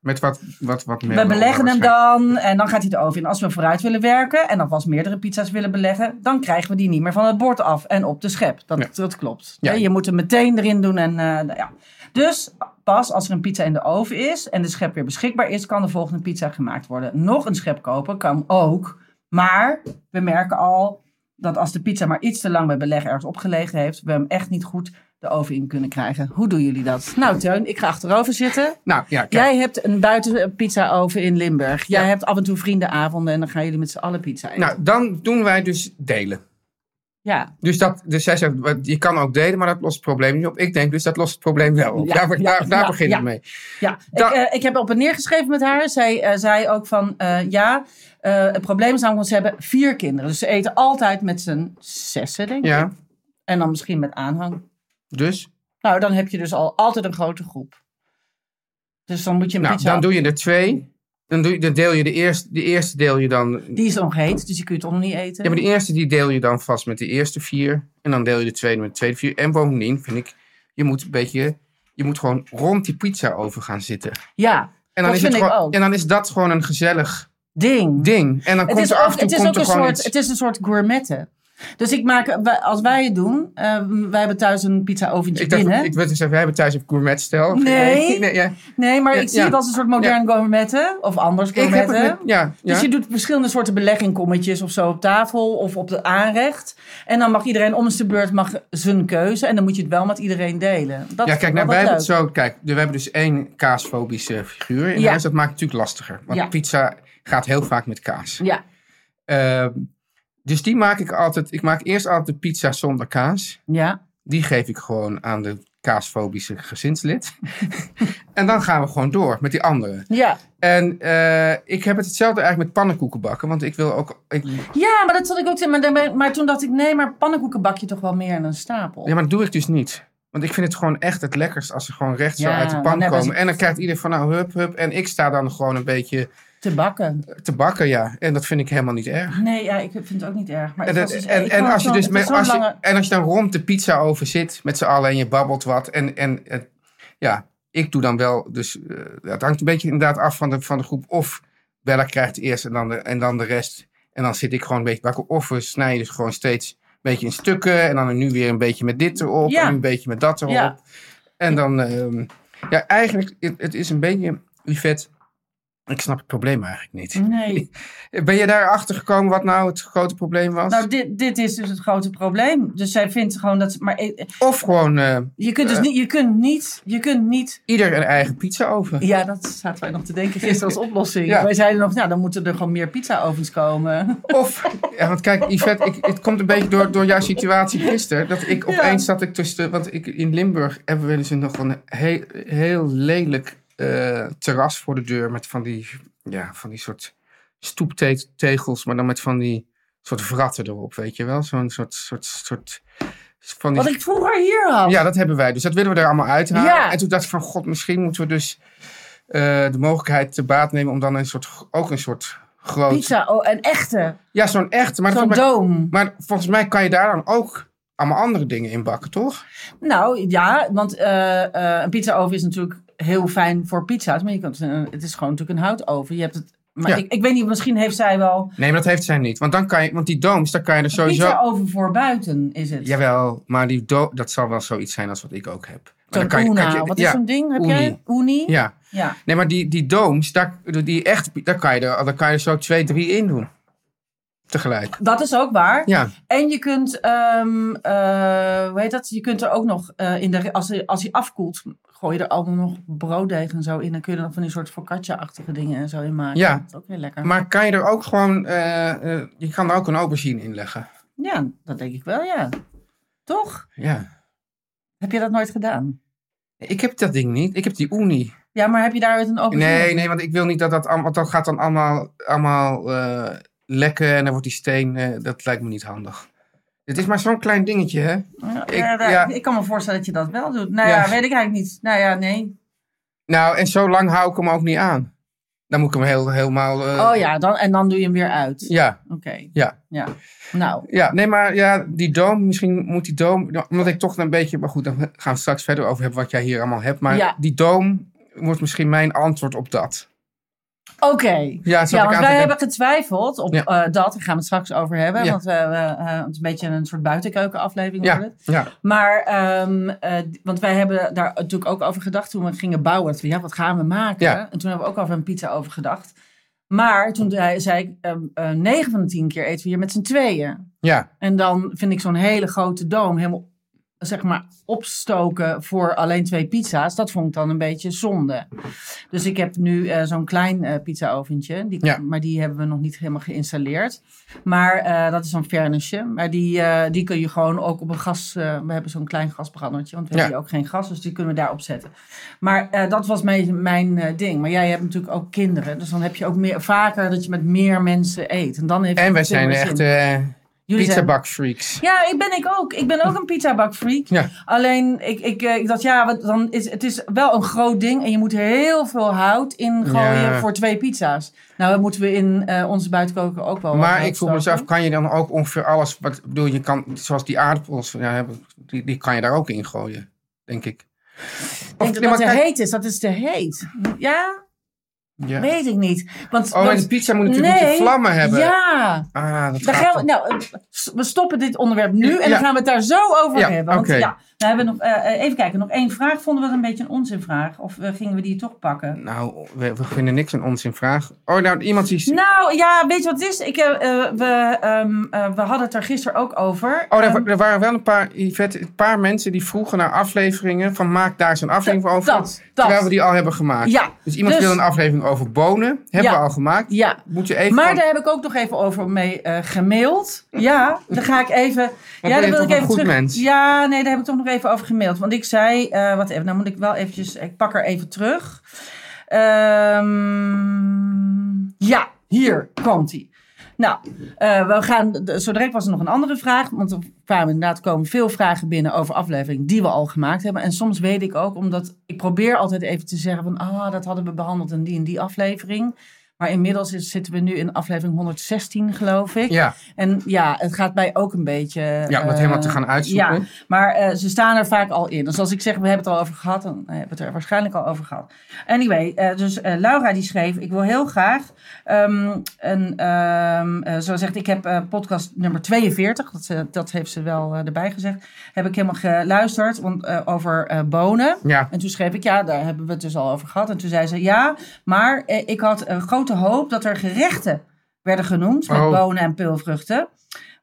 Speaker 2: Met wat, wat, wat meer.
Speaker 3: We beleggen hem dan en dan gaat hij de oven in. Als we vooruit willen werken en alvast meerdere pizza's willen beleggen, dan krijgen we die niet meer van het bord af en op de schep. Dat,
Speaker 2: Ja.
Speaker 3: dat klopt.
Speaker 2: Ja.
Speaker 3: Nee, Je moet hem meteen erin doen. En, eh, nou ja. Dus pas als er een pizza in de oven is en de schep weer beschikbaar is, kan de volgende pizza gemaakt worden. Nog een schep kopen kan ook. Maar we merken al dat als de pizza maar iets te lang bij beleg ergens opgelegen heeft, we hem echt niet goed de oven in kunnen krijgen. Hoe doen jullie dat? Nou, Teun, ik ga achterover zitten.
Speaker 2: Nou, ja, kijk.
Speaker 3: Jij hebt een buiten pizza oven in Limburg. Jij hebt af en toe vriendenavonden en dan gaan jullie met z'n allen pizza eten.
Speaker 2: Nou, dan doen wij dus delen.
Speaker 3: ja.
Speaker 2: Dus, dat, dus zij zegt, wat- je kan ook delen, maar dat lost het probleem niet op. Ik denk dus, dat lost het probleem wel op.
Speaker 3: Ja,
Speaker 2: daar
Speaker 3: ja,
Speaker 2: daar, daar
Speaker 3: ja,
Speaker 2: begin ik
Speaker 3: ja.
Speaker 2: mee.
Speaker 3: Ja,
Speaker 2: Da-
Speaker 3: ik, eh, ik heb op en neer geschreven met haar. Zij eh, zei ook van, eh, ja, eh, het probleem is namelijk, want ze hebben vier kinderen. Dus ze eten altijd met z'n zessen, denk ik.
Speaker 2: Ja,
Speaker 3: En dan misschien met aanhang.
Speaker 2: dus?
Speaker 3: Nou, dan heb je dus al altijd een grote groep. Dus dan moet je een
Speaker 2: Nou,
Speaker 3: pizza...
Speaker 2: dan doe je er twee. Dan, doe je, dan deel je de eerste, de eerste deel je dan...
Speaker 3: Die is nog heet, dus die kun je toch nog niet eten?
Speaker 2: Ja, maar de eerste die deel je dan vast met de eerste vier. En dan deel je de tweede met de tweede vier. En bovendien vind ik, je moet een beetje... Je moet gewoon rond die pizza over gaan zitten.
Speaker 3: Ja,
Speaker 2: En dan,
Speaker 3: Dat
Speaker 2: is het
Speaker 3: vind ik
Speaker 2: gewoon,
Speaker 3: ook.
Speaker 2: en dan is dat gewoon een gezellig
Speaker 3: ding.
Speaker 2: ding. En dan
Speaker 3: Het
Speaker 2: komt
Speaker 3: is
Speaker 2: er af en
Speaker 3: ook,
Speaker 2: toe
Speaker 3: het is
Speaker 2: komt
Speaker 3: ook
Speaker 2: er
Speaker 3: een
Speaker 2: gewoon
Speaker 3: soort,
Speaker 2: iets-
Speaker 3: het is een soort gourmetten. Dus ik maak, wij- als wij het doen, eh, wij hebben thuis een pizza oventje
Speaker 2: Ik dacht,
Speaker 3: binnen.
Speaker 2: ik wil zeggen, wij hebben thuis een gourmetstel.
Speaker 3: Nee.
Speaker 2: ja.
Speaker 3: Nee, maar
Speaker 2: Ja,
Speaker 3: ik zie
Speaker 2: ja.
Speaker 3: het als een soort modern gourmetten. Of anders
Speaker 2: Ik heb
Speaker 3: gourmetten.
Speaker 2: het met, ja, ja.
Speaker 3: Dus je doet verschillende soorten beleggingkommetjes of zo op tafel of op de aanrecht. En dan mag iedereen om zijn beurt mag zijn keuze. En dan moet je het wel met iedereen delen. Dat
Speaker 2: ja,
Speaker 3: vind ik
Speaker 2: kijk,
Speaker 3: wel
Speaker 2: nou, wij hebben
Speaker 3: leuk.
Speaker 2: het zo. Kijk, we hebben dus één kaasfobische figuur in
Speaker 3: Ja.
Speaker 2: huis. Dat maakt het natuurlijk lastiger. Want
Speaker 3: Ja.
Speaker 2: pizza gaat heel vaak met kaas.
Speaker 3: Ja,
Speaker 2: Ehm, dus die maak ik altijd. Ik maak eerst altijd de pizza zonder kaas.
Speaker 3: ja.
Speaker 2: Die geef ik gewoon aan de kaasfobische gezinslid. en dan gaan we gewoon door met die andere.
Speaker 3: Ja.
Speaker 2: En eh, ik heb het hetzelfde eigenlijk met pannenkoeken bakken. Want ik wil ook. Ik,
Speaker 3: Mm. ja, maar dat zat ik ook te maar, daarbij- maar toen dacht ik, nee, maar pannenkoeken bak je toch wel meer dan een stapel.
Speaker 2: ja, maar dat doe ik dus niet. Want ik vind het gewoon echt het lekkerst als ze gewoon recht zo
Speaker 3: Ja,
Speaker 2: uit de
Speaker 3: maar
Speaker 2: pan
Speaker 3: net als-
Speaker 2: komen. En dan krijgt ieder van nou hup, hup. En ik sta dan gewoon een beetje
Speaker 3: Te bakken.
Speaker 2: te bakken, ja. En dat vind ik helemaal niet erg.
Speaker 3: Nee, ja, ik vind het ook niet erg. Maar
Speaker 2: En,
Speaker 3: het
Speaker 2: dat-
Speaker 3: was dus-
Speaker 2: en,
Speaker 3: ik
Speaker 2: en,
Speaker 3: vond
Speaker 2: als je
Speaker 3: het
Speaker 2: dus
Speaker 3: zo'n-
Speaker 2: met,
Speaker 3: het was
Speaker 2: als
Speaker 3: zo'n
Speaker 2: je,
Speaker 3: lange-
Speaker 2: en als je dan rond de pizza over zit met z'n allen en je babbelt wat. En, en eh, ja, ik doe dan wel. Dus eh, het hangt een beetje inderdaad af van de, van de groep. Of Bella krijgt eerst en dan, de, en dan de rest. En dan zit ik gewoon een beetje bakken. Of we snijden dus gewoon steeds een beetje in stukken. En dan nu weer een beetje met dit erop.
Speaker 3: Ja.
Speaker 2: En nu een beetje met dat erop.
Speaker 3: Ja.
Speaker 2: En dan, ehm, ja, eigenlijk, het, het is een beetje, Yvette, ik snap het probleem eigenlijk niet.
Speaker 3: Nee.
Speaker 2: Ben je daarachter gekomen wat nou het grote probleem was?
Speaker 3: Nou, dit, dit is dus het grote probleem. Dus zij vindt gewoon dat... ze- Maar eh,
Speaker 2: of gewoon eh,
Speaker 3: je kunt dus niet... Je kunt niet... Je kunt niet
Speaker 2: ieder een eigen pizza oven.
Speaker 3: Ja, dat zaten wij nog te denken gisteren als oplossing.
Speaker 2: Ja.
Speaker 3: Wij zeiden nog, nou, dan moeten er gewoon meer pizzaovens komen.
Speaker 2: Of, ja, want kijk, Yvette, ik, het komt een beetje door, door jouw situatie gisteren. Dat ik opeens zat ik tussen, de- want ik, in Limburg hebben we dus nog een heel, heel lelijk eh, terras voor de deur. Met van die, ja, van die soort stoeptegels, maar dan met van die soort vratten erop, weet je wel. Zo'n soort, soort, soort, van die
Speaker 3: Wat ik vroeger hier had.
Speaker 2: Ja, dat hebben wij. Dus dat willen we er allemaal uithalen.
Speaker 3: Oh. Ja.
Speaker 2: En toen dacht ik van, god, misschien moeten we dus eh, de mogelijkheid te baat nemen om dan een soort, ook een soort groot...
Speaker 3: Pizza, oh, een echte.
Speaker 2: Ja, zo'n echt. Maar,
Speaker 3: Zo'n
Speaker 2: volgens mij,
Speaker 3: doom.
Speaker 2: maar volgens mij kan je daar dan ook allemaal andere dingen in bakken, toch?
Speaker 3: Nou, ja, want eh, eh, een pizzaoven is natuurlijk heel fijn voor pizza's. Maar je kunt, eh, het is gewoon natuurlijk een houtoven. Je hebt het... Maar
Speaker 2: Ja.
Speaker 3: ik, ik weet niet, misschien heeft zij wel
Speaker 2: Nee, maar dat heeft zij niet. Want, dan kan je, want die dooms, daar kan je er sowieso...
Speaker 3: pizzaoven voor buiten, is het.
Speaker 2: Jawel, maar die do- dat zal wel zoiets zijn als wat ik ook heb. Maar
Speaker 3: Zo'n
Speaker 2: dan kan je- kan
Speaker 3: Una.
Speaker 2: je-
Speaker 3: Wat is
Speaker 2: ja,
Speaker 3: zo'n ding? Heb
Speaker 2: Uni.
Speaker 3: jij? Uni?
Speaker 2: Ja.
Speaker 3: Ja.
Speaker 2: Nee, maar die, die dooms, daar, die echt, daar, kan je er, daar kan je er zo twee, drie in doen. Tegelijk.
Speaker 3: Dat is ook waar.
Speaker 2: Ja.
Speaker 3: En je kunt, ehm, eh, hoe heet dat? Je kunt er ook nog, eh, in de, als, hij- als hij afkoelt, gooi je er allemaal nog brooddeeg en zo in. Dan kun je er nog van die soort focaccia-achtige dingen en zo in maken.
Speaker 2: Ja.
Speaker 3: Dat is ook heel lekker.
Speaker 2: Maar kan je er ook gewoon, eh, eh, je kan er ook een aubergine in leggen.
Speaker 3: ja, dat denk ik wel, ja. Toch?
Speaker 2: Ja.
Speaker 3: Heb je dat nooit gedaan?
Speaker 2: Ik heb dat ding niet. Ik heb die uni.
Speaker 3: Ja, maar heb je daar ooit een open
Speaker 2: Nee, nee, want ik wil niet dat dat allemaal, want dat gaat dan allemaal, allemaal eh, lekken en dan wordt die steen, eh, dat lijkt me niet handig. Het is maar zo'n klein dingetje, hè?
Speaker 3: Ja,
Speaker 2: ik-
Speaker 3: ja, daar-
Speaker 2: ja.
Speaker 3: ik kan me voorstellen dat je dat wel doet. Nou
Speaker 2: Ja.
Speaker 3: ja, weet ik eigenlijk niet. Nou ja, nee.
Speaker 2: Nou, en zo lang hou ik hem ook niet aan. Dan moet ik hem heel, helemaal... eh,
Speaker 3: oh ja, dan, en dan doe je hem weer uit.
Speaker 2: Ja,
Speaker 3: Oké,
Speaker 2: ja.
Speaker 3: ja. Nou,
Speaker 2: Ja, nee, maar ja, die doom, misschien moet die doom... nou, Omdat ik toch een beetje... Maar goed, dan gaan we het straks verder over hebben wat jij hier allemaal hebt. Maar
Speaker 3: Ja.
Speaker 2: die doom wordt misschien mijn antwoord op dat.
Speaker 3: Oké.
Speaker 2: Ja, zat ik
Speaker 3: Ja,
Speaker 2: aan te
Speaker 3: want wij
Speaker 2: denken.
Speaker 3: hebben getwijfeld op
Speaker 2: Ja.
Speaker 3: eh, dat. Daar gaan we het straks over hebben.
Speaker 2: Ja.
Speaker 3: Want we, eh, eh, het is een beetje een soort buitenkeukenaflevering wordt
Speaker 2: Ja,
Speaker 3: het.
Speaker 2: ja.
Speaker 3: Maar, ehm, eh, d- want wij hebben daar natuurlijk ook over gedacht toen we gingen bouwen. Dat we, ja, wat gaan we maken?
Speaker 2: Ja.
Speaker 3: En toen hebben we ook over een pizza over gedacht. Maar toen zei, zei ik, ehm, eh, negen van de tien keer eten we hier met z'n tweeën.
Speaker 2: Ja,
Speaker 3: En dan vind ik zo'n hele grote doom helemaal zeg maar opstoken voor alleen twee pizza's. Dat vond ik dan een beetje zonde. Dus ik heb nu eh, zo'n klein eh, pizzaoventje. Die,
Speaker 2: Ja.
Speaker 3: Maar die hebben we nog niet helemaal geïnstalleerd. Maar eh, dat is zo'n furnace. Maar die, eh, die kun je gewoon ook op een gas... eh, we hebben zo'n klein gasbrandertje. Want we
Speaker 2: Ja.
Speaker 3: hebben hier ook geen gas. Dus die kunnen we daarop zetten. Maar eh, dat was mijn, mijn eh, ding. Maar jij hebt natuurlijk ook kinderen. Dus dan heb je ook meer, vaker dat je met meer mensen eet. En, dan heeft het
Speaker 2: en wij
Speaker 3: veel
Speaker 2: zijn
Speaker 3: meer zin.
Speaker 2: echt eh
Speaker 3: Jullie zijn-
Speaker 2: pizzabakfreaks.
Speaker 3: ja, ik ben ik ook. Ik ben ook een pizzabakfreak.
Speaker 2: Ja.
Speaker 3: Alleen, ik, ik, eh, ik dacht, ja, wat, dan is, het is wel een groot ding. En je moet er heel veel hout in gooien
Speaker 2: Ja.
Speaker 3: voor twee pizza's. Nou, dat moeten we in eh, onze buitenkoker ook wel wat
Speaker 2: Maar
Speaker 3: hout
Speaker 2: ik vroeg me dus
Speaker 3: stoken.
Speaker 2: af, kan je dan ook ongeveer alles, wat ik bedoel, je kan, zoals die aardappels, ja, hebben- die, die kan je daar ook in gooien, denk ik.
Speaker 3: Ik denk
Speaker 2: nee,
Speaker 3: dat
Speaker 2: maar
Speaker 3: dat te
Speaker 2: kijk-
Speaker 3: heet is. Dat is te heet. Ja,
Speaker 2: Ja.
Speaker 3: weet ik niet. Want,
Speaker 2: Oh, en
Speaker 3: want-
Speaker 2: de pizza moet natuurlijk
Speaker 3: Nee.
Speaker 2: moeten vlammen hebben.
Speaker 3: Ja.
Speaker 2: Ah, dat
Speaker 3: Dan
Speaker 2: gaat
Speaker 3: gaan we,
Speaker 2: toch-
Speaker 3: nou, eh, s- we stoppen dit onderwerp nu
Speaker 2: Ja.
Speaker 3: en dan gaan we het daar zo over
Speaker 2: Ja,
Speaker 3: hebben. Want
Speaker 2: oké.
Speaker 3: ja, we hebben nog, eh, eh, even kijken, nog één vraag. Vonden we dat een beetje een onzinvraag? Of eh, gingen we die toch pakken?
Speaker 2: Nou, we, we vinden niks aan ons in vraag. Oh, nou, iemand die...
Speaker 3: Nou ja, weet je wat het is? Ik, eh, eh, we, ehm, eh, we hadden het daar gisteren ook over.
Speaker 2: Oh,
Speaker 3: Ehm,
Speaker 2: er, er waren wel een paar, Yvette, een paar mensen die vroegen naar afleveringen van maak daar zo'n aflevering
Speaker 3: Dat-
Speaker 2: over.
Speaker 3: dat.
Speaker 2: Terwijl we die al hebben gemaakt.
Speaker 3: Ja,
Speaker 2: Dus iemand
Speaker 3: dus-
Speaker 2: wil een aflevering over bonen. Hebben
Speaker 3: Ja.
Speaker 2: we al gemaakt.
Speaker 3: Ja.
Speaker 2: Moet je even...
Speaker 3: Maar
Speaker 2: want-
Speaker 3: daar heb ik ook nog even over mee eh, gemaild. Ja, daar ga ik even.
Speaker 2: ben
Speaker 3: ja,
Speaker 2: je
Speaker 3: daar
Speaker 2: toch een goed mens.
Speaker 3: Ja, nee, daar heb ik toch nog even over gemaild. Want ik zei, eh wat even, nou moet ik wel eventjes, ik pak er even terug. Ehm, ja, hier komt hij. Nou, eh, we gaan, de- zo direct was er nog een andere vraag. Want er kwamen inderdaad komen veel vragen binnen over afleveringen die we al gemaakt hebben. En soms weet ik ook, omdat ik probeer altijd even te zeggen van... Ah, dat hadden we behandeld in die en die aflevering. Maar inmiddels is- zitten we nu in aflevering 116, geloof ik.
Speaker 2: Ja.
Speaker 3: En ja, het gaat mij ook een beetje...
Speaker 2: Ja, om het
Speaker 3: eh,
Speaker 2: helemaal te gaan uitzoeken.
Speaker 3: Ja, maar eh, ze staan er vaak al in. Dus als ik zeg, we hebben het al over gehad, dan eh, hebben we het er waarschijnlijk al over gehad. Anyway, eh, dus eh, Laura die schreef, ik wil heel graag ehm, een, ehm eh, zo zegt, ik heb eh, podcast nummer 42, dat, ze- dat heeft ze wel eh, erbij gezegd, heb ik helemaal geluisterd want, eh, over eh, bonen.
Speaker 2: Ja.
Speaker 3: En toen schreef ik, ja, daar hebben we het dus al over gehad. En toen zei ze, ja, maar eh, ik had een grote hoop dat er gerechten werden genoemd met
Speaker 2: Oh.
Speaker 3: bonen en peulvruchten.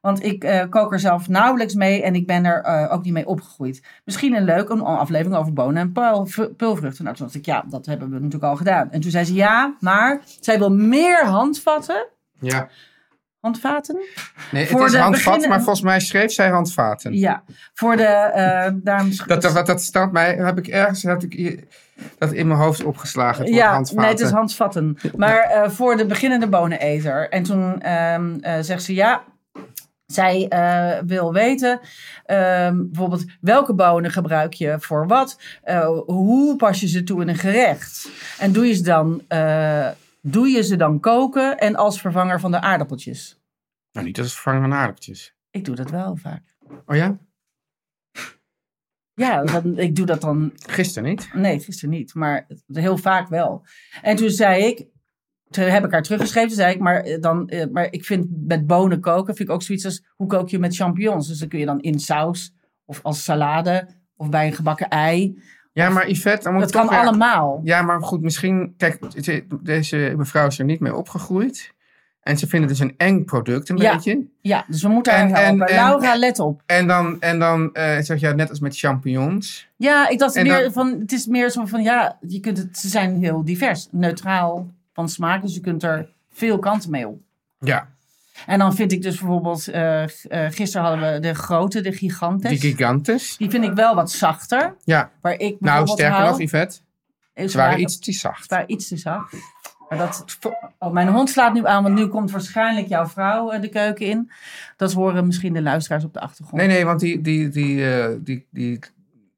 Speaker 3: Want ik eh, kook er zelf nauwelijks mee en ik ben er eh, ook niet mee opgegroeid. Misschien een leuk een aflevering over bonen en peul, v- peulvruchten. Nou, toen dacht ik, ja, dat hebben we natuurlijk al gedaan. En toen zei ze, ja, maar zij wil meer handvatten.
Speaker 2: ja.
Speaker 3: Handvaten?
Speaker 2: Nee, het
Speaker 3: Voor
Speaker 2: is
Speaker 3: de
Speaker 2: handvat,
Speaker 3: beginnen-
Speaker 2: maar volgens mij schreef zij handvaten.
Speaker 3: Ja, voor de eh dames...
Speaker 2: Dat, dat, dat, dat staat mij, heb ik ergens heb ik hier- dat in mijn hoofd opgeslagen. Het ja,
Speaker 3: Ja,
Speaker 2: handvaten.
Speaker 3: nee, het is handvatten. Maar eh, voor de beginnende boneneter. En toen ehm, eh, zegt ze ja. Zij eh, wil weten ehm, bijvoorbeeld welke bonen gebruik je voor wat. eh, hoe pas je ze toe in een gerecht? En doe je ze dan, eh, doe je ze dan koken en als vervanger van de aardappeltjes?
Speaker 2: Nou, niet als het vervangen van aardappeltjes.
Speaker 3: Ik doe dat wel vaak.
Speaker 2: Oh ja?
Speaker 3: Ja, dan, ik doe dat dan
Speaker 2: Gisteren niet.
Speaker 3: Nee, gisteren niet, maar heel vaak wel. En toen zei ik, toen heb ik haar teruggeschreven, toen zei ik, maar, eh, dan, eh, maar ik vind met bonen koken, vind ik ook zoiets als, hoe kook je met champignons? Dus dan kun je dan in saus, of als salade, of bij een gebakken ei.
Speaker 2: Ja, maar Yvette, dan moet
Speaker 3: Dat
Speaker 2: ik toch
Speaker 3: kan
Speaker 2: weer-
Speaker 3: allemaal.
Speaker 2: Ja, maar goed, misschien. Kijk, ze- deze mevrouw is er niet mee opgegroeid. En ze vinden het dus een eng product, een
Speaker 3: Ja.
Speaker 2: beetje.
Speaker 3: Ja, dus we moeten haar
Speaker 2: En- en-
Speaker 3: helpen.
Speaker 2: en-
Speaker 3: Laura, let op.
Speaker 2: En dan, en dan eh, zeg je, ja, net als met champignons.
Speaker 3: Ja, ik dacht
Speaker 2: en
Speaker 3: meer
Speaker 2: dan-
Speaker 3: van, het is meer zo van, ja, je kunt het, ze zijn heel divers. Neutraal van smaak, dus je kunt er veel kanten mee op.
Speaker 2: Ja,
Speaker 3: En dan vind ik dus bijvoorbeeld, eh, g- eh, gisteren hadden we de grote, de gigantes.
Speaker 2: die gigantes.
Speaker 3: Die vind ik wel wat zachter.
Speaker 2: Ja,
Speaker 3: Waar ik
Speaker 2: nou,
Speaker 3: bijvoorbeeld
Speaker 2: sterker
Speaker 3: hou,
Speaker 2: nog, Yvette,
Speaker 3: eh,
Speaker 2: ze waren iets te zacht.
Speaker 3: ze waren iets te zacht. Maar dat, oh, mijn hond slaat nu aan, want nu komt waarschijnlijk jouw vrouw eh, de keuken in. Dat horen misschien de luisteraars op de achtergrond.
Speaker 2: Nee, nee, want die, die, die, eh, die, die,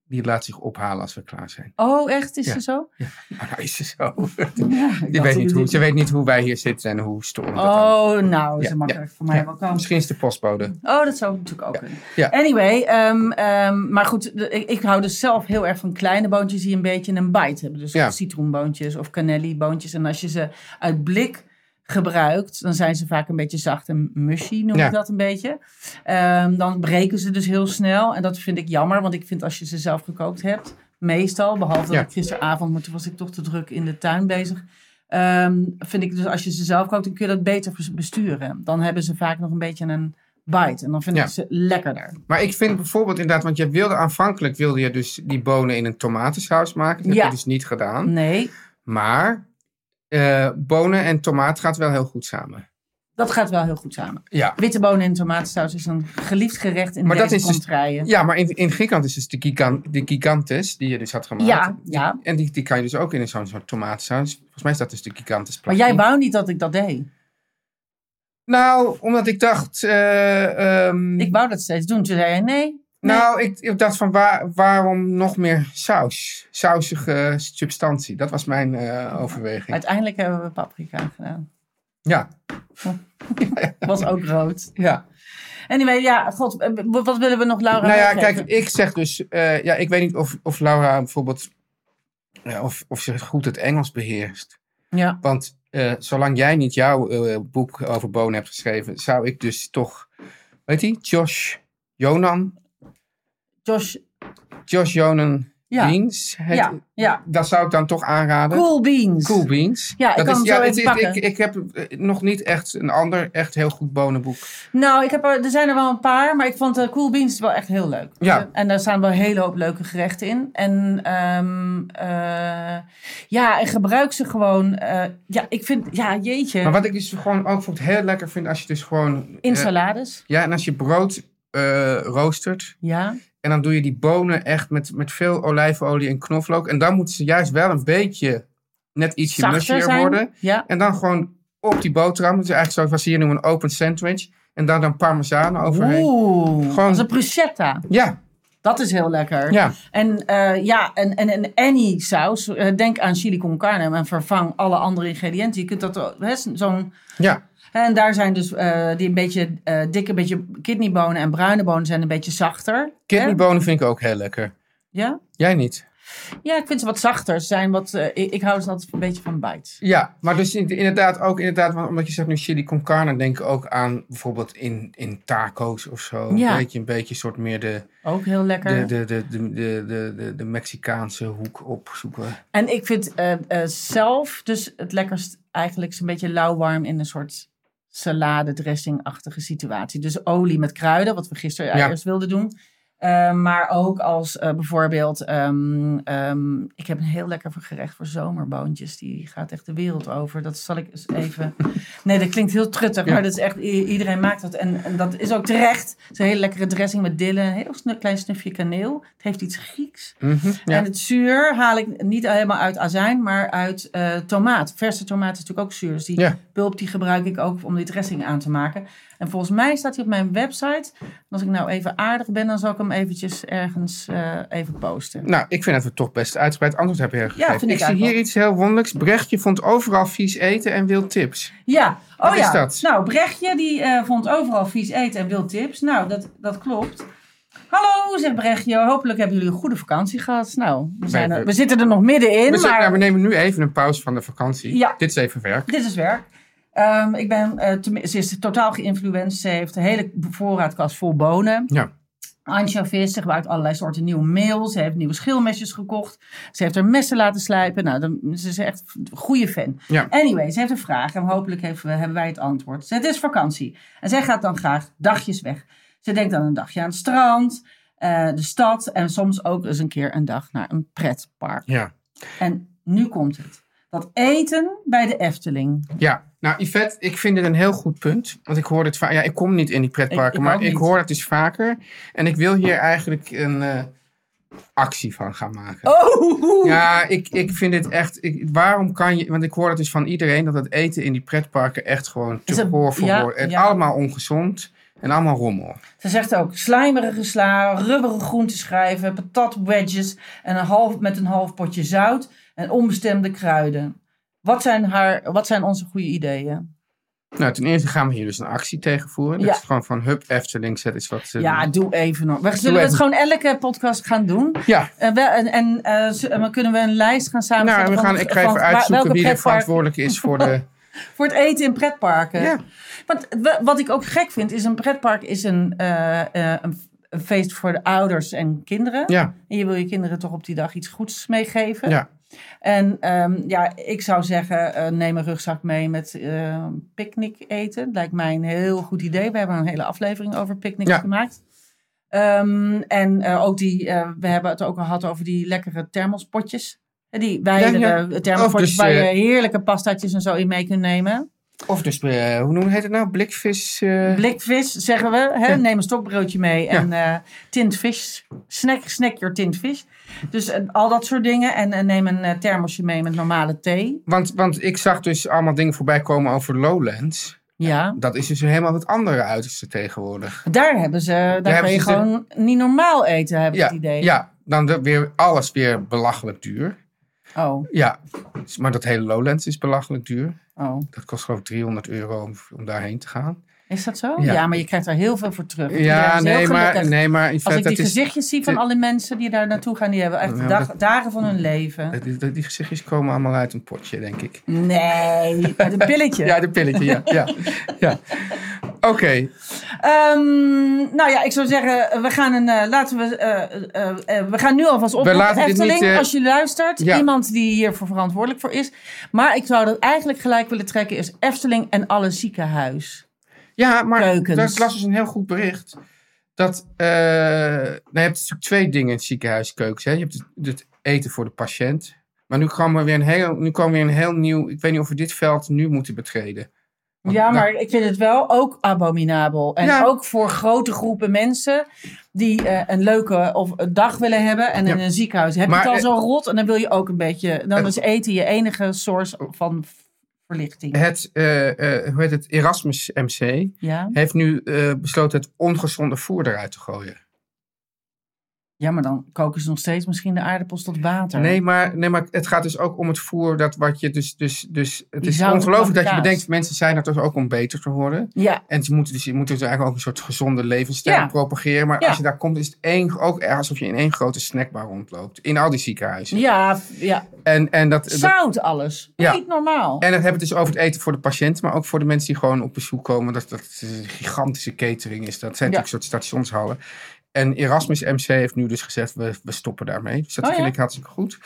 Speaker 2: die laat zich ophalen als we klaar zijn.
Speaker 3: Oh, echt? Is
Speaker 2: Ja.
Speaker 3: ze zo?
Speaker 2: Oh, nou is ze zo.
Speaker 3: Ik
Speaker 2: Die
Speaker 3: dacht,
Speaker 2: weet niet hoe,
Speaker 3: dit-
Speaker 2: ze weet niet hoe wij hier zitten en hoe storend dat dan.
Speaker 3: dus- Oh, nou,
Speaker 2: Ja,
Speaker 3: ze mag
Speaker 2: ja,
Speaker 3: er voor mij
Speaker 2: ja.
Speaker 3: wel komen.
Speaker 2: Misschien is de postbode.
Speaker 3: Oh, dat zou natuurlijk ook kunnen.
Speaker 2: Ja.
Speaker 3: Anyway, ehm, ehm, maar goed, de- ik, ik hou dus zelf heel erg van kleine boontjes die een beetje een bite hebben. Dus
Speaker 2: Ja.
Speaker 3: citroenboontjes of cannelliboontjes. En als je ze uit blik gebruikt, dan zijn ze vaak een beetje zacht en mushy, noem
Speaker 2: Ja.
Speaker 3: ik dat een beetje. Ehm, dan breken ze dus heel snel. En dat vind ik jammer, want ik vind als je ze zelf gekookt hebt, meestal, behalve
Speaker 2: Ja.
Speaker 3: dat ik gisteravond, maar toen was ik toch te druk in de tuin bezig. Ehm, vind ik dus als je ze zelf kookt, dan kun je dat beter bes- besturen. Dan hebben ze vaak nog een beetje een bite. En dan vind
Speaker 2: Ja.
Speaker 3: ik ze lekkerder.
Speaker 2: Maar ik vind bijvoorbeeld inderdaad, want je wilde aanvankelijk wilde je dus die bonen in een tomatensaus maken. Dat
Speaker 3: Ja.
Speaker 2: heb je dus niet gedaan.
Speaker 3: Nee,
Speaker 2: Maar eh, bonen en tomaat gaat wel heel goed samen.
Speaker 3: dat gaat wel heel goed samen.
Speaker 2: Ja.
Speaker 3: Witte bonen in tomatensaus is een geliefd gerecht in
Speaker 2: Maar dat
Speaker 3: deze
Speaker 2: is dus-
Speaker 3: contraien.
Speaker 2: Ja, maar in, in Griekenland is dus de, gigan, de gigantes die je dus had gemaakt.
Speaker 3: ja, ja.
Speaker 2: En die, die kan je dus ook in zo'n soort tomatensaus. Volgens mij is dat dus de gigantes
Speaker 3: Maar jij wou niet dat ik dat deed.
Speaker 2: Nou, omdat ik dacht... eh, ehm,
Speaker 3: Ik wou dat steeds doen. Toen zei hij nee.
Speaker 2: Nou, ik, ik dacht van waar, waarom nog meer saus? Sausige substantie. Dat was mijn eh, overweging.
Speaker 3: Uiteindelijk hebben we paprika gedaan.
Speaker 2: Ja,
Speaker 3: Was ook rood.
Speaker 2: ja.
Speaker 3: Anyway, ja, god, eh, wat willen we nog Laura
Speaker 2: Nou ja,
Speaker 3: meegeven?
Speaker 2: kijk, ik zeg dus... eh, ja, ik weet niet of, of Laura bijvoorbeeld... ja, of, of ze goed het Engels beheerst.
Speaker 3: Ja,
Speaker 2: Want eh, zolang jij niet jouw eh, boek over bonen hebt geschreven... zou ik dus toch... Weet je, Josh Jonan...
Speaker 3: Josh.
Speaker 2: Josh Jonan
Speaker 3: Ja.
Speaker 2: Beans. heet-
Speaker 3: ja, ja.
Speaker 2: Dat zou ik dan toch aanraden.
Speaker 3: Cool beans.
Speaker 2: Cool Beans.
Speaker 3: Ja, ik kan hem zo
Speaker 2: het
Speaker 3: even
Speaker 2: is-
Speaker 3: pakken.
Speaker 2: ik, ik heb eh, nog niet echt een ander echt heel goed bonenboek.
Speaker 3: Nou, ik heb er, er zijn er wel een paar, maar ik vond de Cool Beans wel echt heel leuk.
Speaker 2: Ja.
Speaker 3: En daar staan wel een hele hoop leuke gerechten in. En ehm, eh, ja, en gebruik ze gewoon. eh, ja, ik vind, ja, jeetje.
Speaker 2: Maar wat ik dus gewoon ook vond heel lekker vind als je dus gewoon...
Speaker 3: in
Speaker 2: eh,
Speaker 3: salades.
Speaker 2: ja, en als je brood eh, roostert
Speaker 3: Ja.
Speaker 2: en dan doe je die bonen echt met, met veel olijfolie en knoflook. En dan moeten ze juist wel een beetje net ietsje
Speaker 3: Zachter
Speaker 2: mushier
Speaker 3: zijn.
Speaker 2: worden.
Speaker 3: Ja.
Speaker 2: En dan gewoon op die boterham, dus eigenlijk zoals we hier noemen een open sandwich. En daar dan parmezaan overheen.
Speaker 3: Oeh,
Speaker 2: Gewoon-
Speaker 3: als een bruschetta.
Speaker 2: Ja,
Speaker 3: Dat is heel lekker.
Speaker 2: ja.
Speaker 3: En eh, ja, en, en, en any saus. eh, denk aan chili con carne en vervang alle andere ingrediënten. Je kunt dat ook- hè, zo'n
Speaker 2: Ja,
Speaker 3: En daar zijn dus eh, die een beetje eh, dikke, beetje kidneybonen en bruine bonen zijn een beetje zachter.
Speaker 2: kidneybonen vind ik ook heel lekker.
Speaker 3: Ja?
Speaker 2: Jij niet?
Speaker 3: ja, ik vind ze wat zachter. Ze zijn wat, eh, ik, ik hou ze altijd een beetje van bites.
Speaker 2: Ja, maar dus in- inderdaad ook inderdaad, want omdat je zegt nu chili con carne, denk ik ook aan bijvoorbeeld in, in taco's of zo.
Speaker 3: Ja.
Speaker 2: Een beetje een beetje soort meer de,
Speaker 3: Ook heel lekker.
Speaker 2: de, de, de, de, de, de, de, de Mexicaanse hoek opzoeken.
Speaker 3: En ik vind eh, eh, zelf dus het lekkerst eigenlijk zo'n beetje lauwwarm in een soort salade dressingachtige situatie. Dus olie met kruiden, wat we gisteren
Speaker 2: Ja.
Speaker 3: eerst wilden doen. Eh, maar ook als eh, bijvoorbeeld, ehm, ehm, ik heb een heel lekker gerecht voor zomerboontjes. Die gaat echt de wereld over. Dat zal ik eens even. Nee, dat klinkt heel truttig,
Speaker 2: Ja.
Speaker 3: maar dat is echt, i- iedereen maakt dat. En, en dat is ook terecht. Het is een hele lekkere dressing met dillen, een heel snu- klein snufje kaneel. Het heeft iets Grieks.
Speaker 2: Mhm, ja.
Speaker 3: En het zuur haal ik niet helemaal uit azijn, maar uit eh, tomaat. Verse tomaat is natuurlijk ook zuur. Dus die
Speaker 2: Ja.
Speaker 3: bulp die gebruik ik ook om die dressing aan te maken. En volgens mij staat hij op mijn website. En als ik nou even aardig ben, dan zal ik hem eventjes ergens eh, even posten.
Speaker 2: Nou, ik vind dat we toch best uitgebreid antwoord hebben gegeven.
Speaker 3: vind ik
Speaker 2: ik zie
Speaker 3: eigenlijk
Speaker 2: hier iets heel wonderlijks. Brechtje vond overal vies eten en wil tips.
Speaker 3: Ja, oh
Speaker 2: Wat
Speaker 3: ja.
Speaker 2: is dat?
Speaker 3: Nou, Brechtje die eh, vond overal vies eten en wil tips. Nou, dat, dat klopt. Hallo, zegt Brechtje. Hopelijk hebben jullie een goede vakantie gehad. Nou, we, zijn
Speaker 2: Nee,
Speaker 3: er,
Speaker 2: we-
Speaker 3: we zitten er nog middenin.
Speaker 2: We, zijn-
Speaker 3: maar...
Speaker 2: nou, we nemen nu even een pauze van de vakantie.
Speaker 3: Ja.
Speaker 2: Dit is even werk.
Speaker 3: Dit is werk. Ehm, ik ben, eh, tenmin- ze is totaal geïnfluenced. Ze heeft een hele voorraadkast vol bonen.
Speaker 2: Ja.
Speaker 3: Anchovies, ze gebruikt allerlei soorten nieuw meel. Ze heeft nieuwe schilmesjes gekocht. Ze heeft haar messen laten slijpen. Nou, dan, ze is echt een goede fan.
Speaker 2: Ja.
Speaker 3: Anyway, ze heeft een vraag en hopelijk heeft- eh, hebben wij het antwoord. Het is vakantie en zij gaat dan graag dagjes weg. Ze denkt dan een dagje aan het strand, eh, de stad en soms ook eens een keer een dag naar een pretpark.
Speaker 2: Ja.
Speaker 3: En nu komt het. Dat eten bij de Efteling.
Speaker 2: Ja, nou Yvette, ik vind dit een heel goed punt. Want ik hoor dit vaak. Ja, ik kom niet in die pretparken,
Speaker 3: Ik- ik ook
Speaker 2: maar ik
Speaker 3: niet.
Speaker 2: hoor het dus vaker. En ik wil hier eigenlijk een eh, actie van gaan maken.
Speaker 3: Oh!
Speaker 2: Ja, ik, ik vind dit echt. Ik, waarom kan je. Want ik hoor het dus van iedereen dat het eten in die pretparken echt gewoon
Speaker 3: Is
Speaker 2: te
Speaker 3: het-
Speaker 2: voor voor
Speaker 3: ja,
Speaker 2: wordt. En
Speaker 3: ja.
Speaker 2: allemaal ongezond en allemaal rommel.
Speaker 3: Ze zegt ook slijmerige sla, rubberen groenteschijven, patatwedges en een half, met een half potje zout en onbestemde kruiden. Wat zijn, haar, wat zijn onze goede ideeën?
Speaker 2: Nou, ten eerste gaan we hier dus een actie tegen voeren. Dat
Speaker 3: Ja.
Speaker 2: is gewoon van Hup Efteling, zet eens wat. eh,
Speaker 3: Ja, doe even nog. We zullen
Speaker 2: even.
Speaker 3: het gewoon elke podcast gaan doen.
Speaker 2: ja.
Speaker 3: En, we, en, en eh, z- en dan kunnen we een lijst gaan
Speaker 2: Nou,
Speaker 3: samenstellen.
Speaker 2: we
Speaker 3: van
Speaker 2: gaan,
Speaker 3: het-
Speaker 2: ik ga even
Speaker 3: van waar-
Speaker 2: uitzoeken
Speaker 3: welke
Speaker 2: wie er
Speaker 3: pretpark-
Speaker 2: verantwoordelijk is voor de.
Speaker 3: Voor het eten in pretparken.
Speaker 2: Ja.
Speaker 3: Want we- wat ik ook gek vind, is een pretpark is een, eh, eh, een, een feest voor de ouders en kinderen.
Speaker 2: Ja,
Speaker 3: En je wil je kinderen toch op die dag iets goeds meegeven.
Speaker 2: ja.
Speaker 3: En ehm, ja, ik zou zeggen, eh, neem een rugzak mee met eh, picknick eten. Lijkt mij een heel goed idee. We hebben een hele aflevering over picknicks
Speaker 2: Ja.
Speaker 3: gemaakt. Ehm, en eh, ook die, eh, we hebben het ook al gehad over die lekkere thermospotjes. Hè, Die wijdere
Speaker 2: Ja,
Speaker 3: thermospotjes
Speaker 2: Of dus,
Speaker 3: waar je
Speaker 2: eh,
Speaker 3: heerlijke pastaatjes en zo in mee kunt nemen.
Speaker 2: Of dus, eh, hoe noem heet het nou? Blikvis. eh,
Speaker 3: Blikvis, zeggen we. Hè?
Speaker 2: Ja.
Speaker 3: Neem een stokbroodje mee. En eh tint fish. Snack, snack your tint fish. Dus eh, al dat soort dingen. En eh, neem een eh, thermosje mee met normale thee.
Speaker 2: Want, want ik zag dus allemaal dingen voorbij komen over Lowlands.
Speaker 3: Ja.
Speaker 2: Dat is dus helemaal het andere uiterste tegenwoordig.
Speaker 3: Daar hebben ze, daar
Speaker 2: hebben
Speaker 3: kun je
Speaker 2: ze de-
Speaker 3: gewoon niet normaal eten, heb ik
Speaker 2: Ja,
Speaker 3: het idee.
Speaker 2: ja dan de- weer alles weer belachelijk duur.
Speaker 3: Oh,
Speaker 2: Ja, s- maar dat hele Lowlands is belachelijk duur.
Speaker 3: oh.
Speaker 2: Dat kost geloof ik 300 euro om, om daarheen te gaan.
Speaker 3: Is dat zo? Ja.
Speaker 2: Ja.
Speaker 3: maar je krijgt daar heel veel voor terug. Daar
Speaker 2: Ja,
Speaker 3: is heel
Speaker 2: nee maar,
Speaker 3: gelukkig.
Speaker 2: nee, maar in
Speaker 3: Als ik
Speaker 2: feite,
Speaker 3: die
Speaker 2: dat is,
Speaker 3: gezichtjes zie van
Speaker 2: de-
Speaker 3: alle mensen die daar naartoe gaan, die hebben echt
Speaker 2: Ja,
Speaker 3: dag-
Speaker 2: dat-
Speaker 3: dagen van hun leven.
Speaker 2: die, die- die gezichtjes komen allemaal uit een potje, denk ik.
Speaker 3: Nee, het pilletje.
Speaker 2: Ja, de pilletje, ja. ja, ja. Oké,
Speaker 3: Ehm, nou ja, ik zou zeggen, we gaan, een, eh, laten we, eh, eh, eh, we gaan nu alvast op.
Speaker 2: laten dit
Speaker 3: Efteling,
Speaker 2: niet, eh,
Speaker 3: als je luistert,
Speaker 2: ja.
Speaker 3: iemand die hiervoor verantwoordelijk voor is. Maar ik zou dat eigenlijk gelijk willen trekken, is Efteling en alle ziekenhuis.
Speaker 2: Ja, maar
Speaker 3: Keukens.
Speaker 2: daar- ik las dus een heel goed bericht. Dat, eh, nou, je hebt natuurlijk twee dingen in het ziekenhuiskeukens. Hè. Je hebt het, het eten voor de patiënt. Maar nu kwam er weer een heel, nu kwam weer een heel nieuw... Ik weet niet of we dit veld nu moeten betreden. Want
Speaker 3: Ja,
Speaker 2: daar-
Speaker 3: maar ik vind het wel ook abominabel. En
Speaker 2: Oh, nou. Ja.
Speaker 3: ook voor grote groepen mensen die eh, een leuke of een dag willen hebben. En in
Speaker 2: Ja.
Speaker 3: een ziekenhuis heb je
Speaker 2: Maar,
Speaker 3: het al
Speaker 2: eh,
Speaker 3: zo rot. En dan wil je ook een beetje... Dan
Speaker 2: eh,
Speaker 3: is eten je enige source van v- verlichting.
Speaker 2: het, eh, eh, hoe heet het, Erasmus MC
Speaker 3: Ja?
Speaker 2: heeft nu eh, besloten het ongezonde voer eruit te gooien.
Speaker 3: ja, maar dan koken ze nog steeds misschien de aardappels tot water.
Speaker 2: Nee maar, nee, maar het gaat dus ook om het voer dat wat je dus... dus, dus het
Speaker 3: Die
Speaker 2: is
Speaker 3: zout en
Speaker 2: ongelooflijk dat je
Speaker 3: kaas.
Speaker 2: bedenkt, mensen zijn er toch ook om beter te worden.
Speaker 3: Ja,
Speaker 2: En ze moeten, dus, je moet dus eigenlijk ook een soort gezonde levensstijl
Speaker 3: Ja.
Speaker 2: propageren. Maar
Speaker 3: Ja.
Speaker 2: als je daar komt, is het één, ook erg alsof je in één grote snackbar rondloopt. In al die ziekenhuizen.
Speaker 3: ja, ja.
Speaker 2: En, en, dat, dat-
Speaker 3: Zout alles.
Speaker 2: Ja.
Speaker 3: Niet normaal.
Speaker 2: en dat hebben we het dus over het eten voor de patiënt. Maar ook voor de mensen die gewoon op bezoek komen. Dat, dat is een gigantische catering is. Dat zijn
Speaker 3: Ja.
Speaker 2: natuurlijk soort stationshallen. En Erasmus MC heeft nu dus gezegd, we, we stoppen daarmee. Dus dat
Speaker 3: Oh,
Speaker 2: vind
Speaker 3: ja?
Speaker 2: ik hartstikke goed.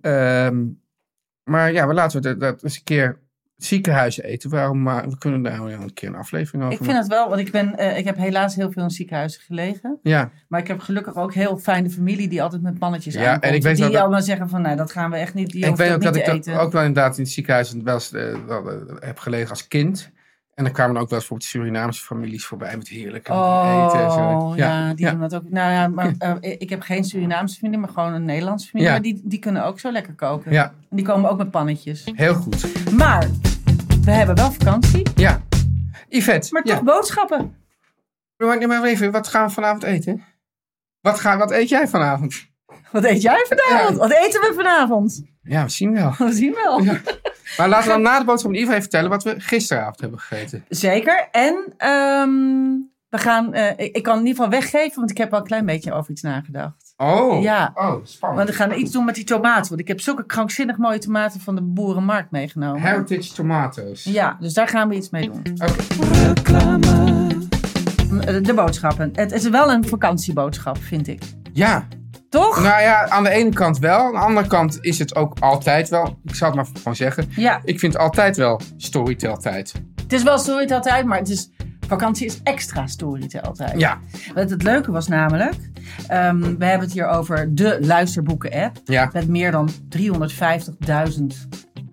Speaker 2: Ehm, maar ja, maar laten we dat, dat eens een keer ziekenhuizen eten. Waarom, maar we kunnen daar een keer een aflevering over
Speaker 3: ik vind het wel, want ik, ben, eh, ik heb helaas heel veel in ziekenhuizen gelegen.
Speaker 2: Ja.
Speaker 3: Maar ik heb gelukkig ook heel fijne familie die altijd met mannetjes
Speaker 2: Ja,
Speaker 3: ja, aankomt.
Speaker 2: en ik weet
Speaker 3: die
Speaker 2: wel dat-
Speaker 3: allemaal zeggen van, nou, dat gaan we echt niet, die
Speaker 2: ik
Speaker 3: hoeft
Speaker 2: weet
Speaker 3: dat
Speaker 2: ook
Speaker 3: niet
Speaker 2: dat
Speaker 3: te
Speaker 2: ik dat
Speaker 3: eten.
Speaker 2: ook wel inderdaad in het ziekenhuis wel eens, eh, wel, eh, heb gelegen als kind. En dan kwamen er ook wel eens bijvoorbeeld Surinaamse families voorbij met heerlijke
Speaker 3: Oh,
Speaker 2: eten. en
Speaker 3: ja,
Speaker 2: zo.
Speaker 3: die doen dat ook. Nou ja, maar eh, ik heb geen Surinaamse familie, maar gewoon een Nederlandse familie.
Speaker 2: Ja.
Speaker 3: Maar die, die kunnen ook zo lekker koken.
Speaker 2: Ja.
Speaker 3: En die komen ook met pannetjes.
Speaker 2: heel goed.
Speaker 3: Maar we hebben wel vakantie,
Speaker 2: Ja. Yvette,
Speaker 3: maar
Speaker 2: ja.
Speaker 3: toch boodschappen.
Speaker 2: Maar, maar even, wat gaan we vanavond eten? Wat, ga, wat eet jij vanavond?
Speaker 3: Wat eet jij vanavond?
Speaker 2: Ja.
Speaker 3: Wat eten we vanavond?
Speaker 2: Ja, we zien wel.
Speaker 3: We zien wel.
Speaker 2: Maar laten we dan na de boodschap in ieder geval even vertellen wat we gisteravond hebben gegeten.
Speaker 3: Zeker. En ehm, we gaan, eh, ik, ik kan het in ieder geval weggeven, want ik heb al een klein beetje over iets nagedacht.
Speaker 2: Oh,
Speaker 3: Ja.
Speaker 2: oh
Speaker 3: Want
Speaker 2: spannend.
Speaker 3: we gaan iets doen met die tomaten. Want ik heb zulke krankzinnig mooie tomaten van de boerenmarkt meegenomen.
Speaker 2: Heritage tomatoes.
Speaker 3: Ja, dus daar gaan we iets mee doen.
Speaker 2: Oké.
Speaker 3: De boodschappen. Het is wel een vakantieboodschap, vind ik.
Speaker 2: Ja.
Speaker 3: Toch?
Speaker 2: Nou ja, aan de ene kant wel. Aan de andere kant is het ook altijd wel. Ik zal het maar gewoon zeggen.
Speaker 3: Ja,
Speaker 2: Ik vind altijd wel storyteltijd.
Speaker 3: het is wel storytel tijd, maar het is, vakantie is extra storytel tijd.
Speaker 2: Ja.
Speaker 3: Wat het leuke was namelijk, ehm, we hebben het hier over de luisterboeken-app.
Speaker 2: Ja.
Speaker 3: Met meer dan 350.000.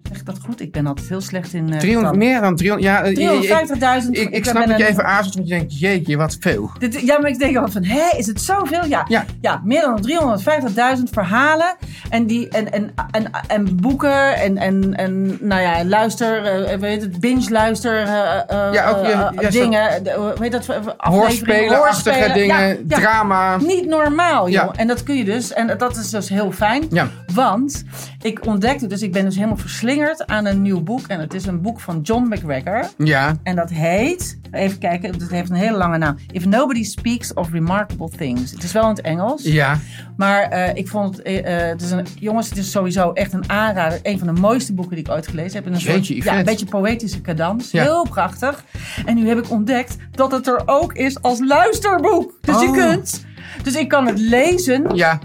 Speaker 3: Zeg ik dat goed? Ik ben altijd heel slecht in. eh,
Speaker 2: 300,
Speaker 3: getallen.
Speaker 2: meer dan 300. Ja, eh, ik,
Speaker 3: 350.000.
Speaker 2: ik, ik
Speaker 3: ben
Speaker 2: snap dat je
Speaker 3: een-
Speaker 2: even aarzelt, want je denkt, jeetje, wat veel.
Speaker 3: Dit, ja, maar ik denk wel van, hé, is het zoveel? Ja,
Speaker 2: Ja.
Speaker 3: meer dan 350.000 verhalen en, die, en, en, en, en boeken en, en, en nou ja, luister, eh, weet het, binge-luister eh, eh,
Speaker 2: Ja, ook,
Speaker 3: eh,
Speaker 2: ja, ja,
Speaker 3: dingen, de- hoe heet dat, eh, afleveringen,
Speaker 2: Hoorspelen-achtige
Speaker 3: hoorspelen.
Speaker 2: dingen,
Speaker 3: Ja, ja.
Speaker 2: drama.
Speaker 3: Niet normaal, joh.
Speaker 2: Ja.
Speaker 3: En dat kun je dus. En dat is dus heel fijn.
Speaker 2: Ja.
Speaker 3: Want ik ontdekte, dus ik ben dus helemaal verslingerd aan een nieuw boek. En het is een boek van John McGregor.
Speaker 2: Ja,
Speaker 3: En dat heet Even kijken, dat heeft een hele lange naam. If Nobody Speaks of Remarkable Things. Het is wel in het Engels.
Speaker 2: Ja,
Speaker 3: Maar eh, ik vond het, eh, eh, het is een, jongens, het is sowieso echt een aanrader. Een van de mooiste boeken die ik ooit gelezen heb. En een
Speaker 2: Jeetje,
Speaker 3: soort,
Speaker 2: Yvette.
Speaker 3: ja, een beetje poëtische cadans.
Speaker 2: Ja.
Speaker 3: Heel prachtig. En nu heb ik ontdekt dat het er ook is als luisterboek. Dus je
Speaker 2: Oh.
Speaker 3: kunt. Dus ik kan het lezen.
Speaker 2: ja.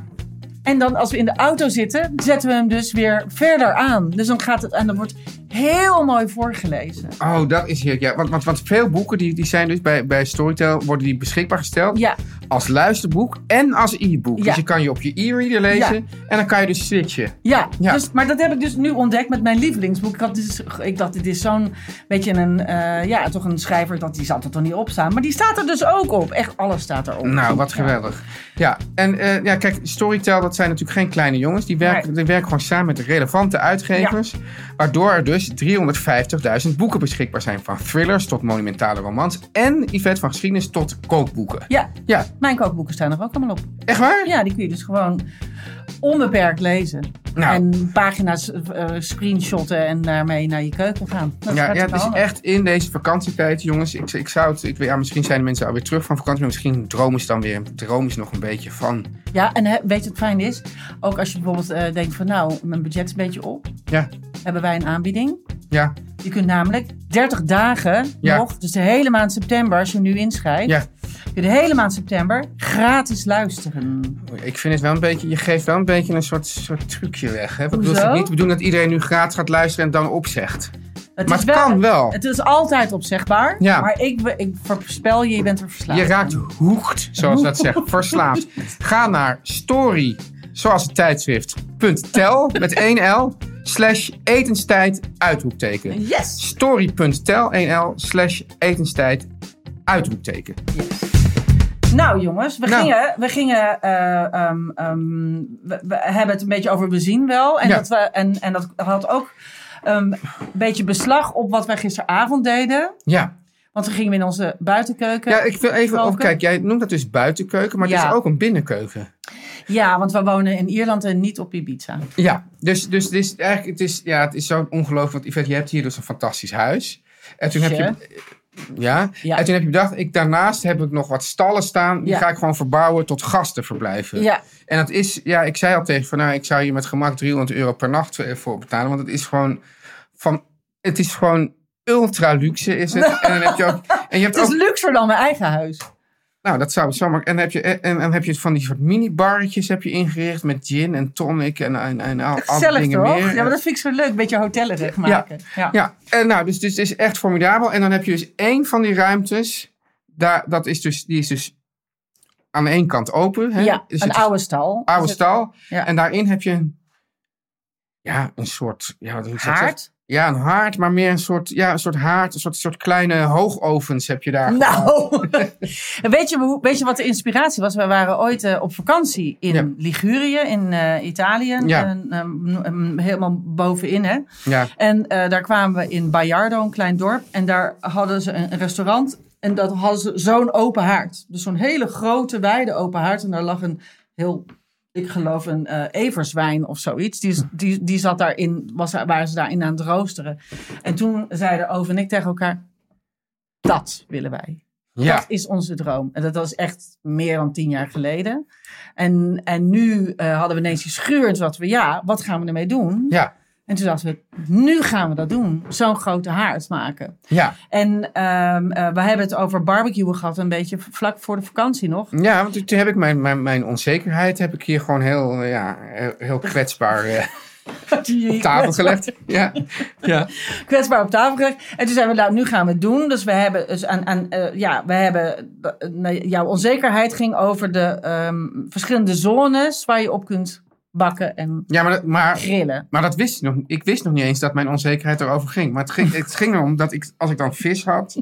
Speaker 3: En dan als we in de auto zitten, zetten we hem dus weer verder aan. Dus dan gaat het en dan wordt heel mooi voorgelezen.
Speaker 2: Oh, dat is hier. Ja, want, want, want veel boeken die, die zijn dus bij, bij Storytel worden die beschikbaar gesteld
Speaker 3: Ja,
Speaker 2: als luisterboek en als e-book.
Speaker 3: Ja.
Speaker 2: Dus je kan je op je e-reader lezen en dan kan je dus switchen.
Speaker 3: ja.
Speaker 2: Ja.
Speaker 3: Dus, maar dat heb ik dus nu ontdekt met mijn lievelingsboek. Ik, had dus, ik dacht, dit is zo'n beetje een, eh, ja, toch een schrijver dat die zat er toch niet op staan. Maar die staat er dus ook op. Echt, alles staat erop.
Speaker 2: Nou, wat geweldig. Ja, en eh, ja, kijk, Storytel, dat zijn natuurlijk geen kleine jongens. Die werken,
Speaker 3: Nee.
Speaker 2: die werken gewoon samen met de relevante uitgevers. Waardoor er dus 350.000 boeken beschikbaar zijn. Van thrillers tot monumentale romans. En Yvette van geschiedenis tot kookboeken.
Speaker 3: Ja,
Speaker 2: Ja,
Speaker 3: mijn kookboeken staan er ook allemaal op.
Speaker 2: echt waar?
Speaker 3: Ja, die kun je dus gewoon onbeperkt lezen.
Speaker 2: Nou.
Speaker 3: En pagina's eh, screenshotten en daarmee naar je keuken gaan. Dat is
Speaker 2: Ja, ja,
Speaker 3: hartstikke
Speaker 2: het is
Speaker 3: handig.
Speaker 2: echt in deze vakantietijd, jongens. Ik, ik zou het, ik, weet- ja, misschien zijn de mensen alweer terug van vakantie, maar misschien dromen ze dan weer. Dromen ze nog een beetje van.
Speaker 3: Ja, en hè, weet je wat fijn is? Ook als je bijvoorbeeld eh, denkt van nou, mijn budget is een beetje op.
Speaker 2: Ja,
Speaker 3: Hebben wij een aanbieding.
Speaker 2: ja,
Speaker 3: Je kunt namelijk 30 dagen
Speaker 2: Ja.
Speaker 3: nog, dus de hele maand september, als je nu inschrijft.
Speaker 2: ja.
Speaker 3: Kun je de hele maand september gratis luisteren.
Speaker 2: Ik vind het wel een beetje, je geeft wel een beetje een soort, soort trucje weg. Hè? Wat bedoel
Speaker 3: Hoezo?
Speaker 2: ik niet? We doen dat iedereen nu gratis gaat luisteren en dan opzegt.
Speaker 3: Het
Speaker 2: Maar het kan wel.
Speaker 3: Het is altijd opzegbaar.
Speaker 2: Ja.
Speaker 3: Maar ik, be- ik voorspel je, je bent er verslaafd.
Speaker 2: Je raakt hoekt, zoals dat zegt, verslaafd. Ga naar story, zoals het tijdschrift, punt tel, met 1 L, slash etenstijd, uitroepteken.
Speaker 3: aan. Yes!
Speaker 2: Story.tel, 1 L, slash etenstijd, uitroepteken.
Speaker 3: Nou jongens, we
Speaker 2: Nou.
Speaker 3: gingen, we, gingen eh, ehm, ehm, we, we hebben het een beetje over we zien wel. En,
Speaker 2: Ja.
Speaker 3: dat, we, en, en dat had ook ehm, een beetje beslag op wat wij gisteravond deden.
Speaker 2: Ja.
Speaker 3: Want we gingen in onze buitenkeuken.
Speaker 2: ja, ik wil even
Speaker 3: Welke?
Speaker 2: opkijken. Jij noemt dat dus buitenkeuken, maar het
Speaker 3: Ja.
Speaker 2: is ook een binnenkeuken.
Speaker 3: Ja, want we wonen in Ierland en niet op Ibiza.
Speaker 2: Ja, dus, dus het is eigenlijk het is, ja, het is zo ongelooflijk. Want Yvette, je hebt hier dus een fantastisch huis. En toen heb
Speaker 3: Ja.
Speaker 2: je... Ja.
Speaker 3: Ja.
Speaker 2: en toen heb je bedacht, ik, daarnaast heb ik nog wat stallen staan. Die
Speaker 3: Ja.
Speaker 2: ga ik gewoon verbouwen tot gastenverblijven.
Speaker 3: Ja.
Speaker 2: En dat is, ja, ik zei al tegen van, nou, ik zou je met gemak 300 euro per nacht eh, voor betalen. Want het is gewoon van, het is gewoon ultra luxe is het. En dan heb je ook, en je hebt
Speaker 3: Het is
Speaker 2: ook
Speaker 3: luxer dan mijn eigen huis.
Speaker 2: Nou, dat zou zomaar. En heb je, en, en heb je van die soort mini-barretjes heb je ingericht met gin en tonic en, en, en al, al die
Speaker 3: Gezellig
Speaker 2: dingen
Speaker 3: toch?
Speaker 2: meer.
Speaker 3: Ja, maar dat vind ik zo leuk. Een beetje hotellerig maken. Ja.
Speaker 2: Ja, en nou, dus, dus het is echt formidabel. En dan heb je dus één van die ruimtes. Daar, dat is dus, die is dus aan één kant open. Hè?
Speaker 3: Ja,
Speaker 2: Dus
Speaker 3: een
Speaker 2: het is
Speaker 3: oude stal.
Speaker 2: oude stal.
Speaker 3: Ja.
Speaker 2: En daarin heb je een, ja, een soort... Ja, wat moet ik dat zeggen?
Speaker 3: Haard.
Speaker 2: Ja, een haard, maar meer een soort, ja, een soort haard. Een soort, soort kleine hoogovens heb je daar.
Speaker 3: Nou, weet je, hoe- weet je wat de inspiratie was? We waren ooit eh, op vakantie in
Speaker 2: Ja.
Speaker 3: Ligurië, in eh, Italië.
Speaker 2: Ja.
Speaker 3: En, ehm, ehm, helemaal bovenin, hè?
Speaker 2: Ja,
Speaker 3: En eh, daar kwamen we in Bayardo, een klein dorp. En daar hadden ze een restaurant. En dat hadden ze zo'n open haard. Dus zo'n hele grote, wijde open haard. En daar lag een heel, ik geloof een eh, everswijn of zoiets. Die, is- die, die zat daarin, was, daar- waren ze daarin aan het roosteren. En toen zeiden Ove en ik tegen elkaar... Dat willen wij.
Speaker 2: ja.
Speaker 3: Dat is onze droom. En dat was echt meer dan tien jaar geleden. En, en nu eh, hadden we ineens die schuur. En toen dachten we, ja, wat gaan we ermee doen?
Speaker 2: ja.
Speaker 3: En toen dachten we, nu gaan we dat doen. Zo'n grote haard maken.
Speaker 2: ja.
Speaker 3: En ehm, eh, we hebben het over barbecuen gehad, een beetje vlak voor de vakantie nog.
Speaker 2: Ja, want toen- toen heb ik mijn, mijn, mijn onzekerheid heb ik hier gewoon heel, eh, ja, heel- heel kwetsbaar eh, op tafel gelegd. Ja. Ja.
Speaker 3: kwetsbaar op tafel gelegd. En toen zeiden we, nou, nu gaan we het doen. Dus we hebben, dus aan, aan, eh, ja, we hebben eh, nou, jouw onzekerheid ging over de ehm, verschillende zones waar je op kunt bakken en
Speaker 2: ja, maar, dat- maar,
Speaker 3: grillen.
Speaker 2: maar dat wist ik nog. Ik wist nog niet eens dat mijn onzekerheid erover ging. Maar het ging, het ging erom dat ik, als ik dan vis had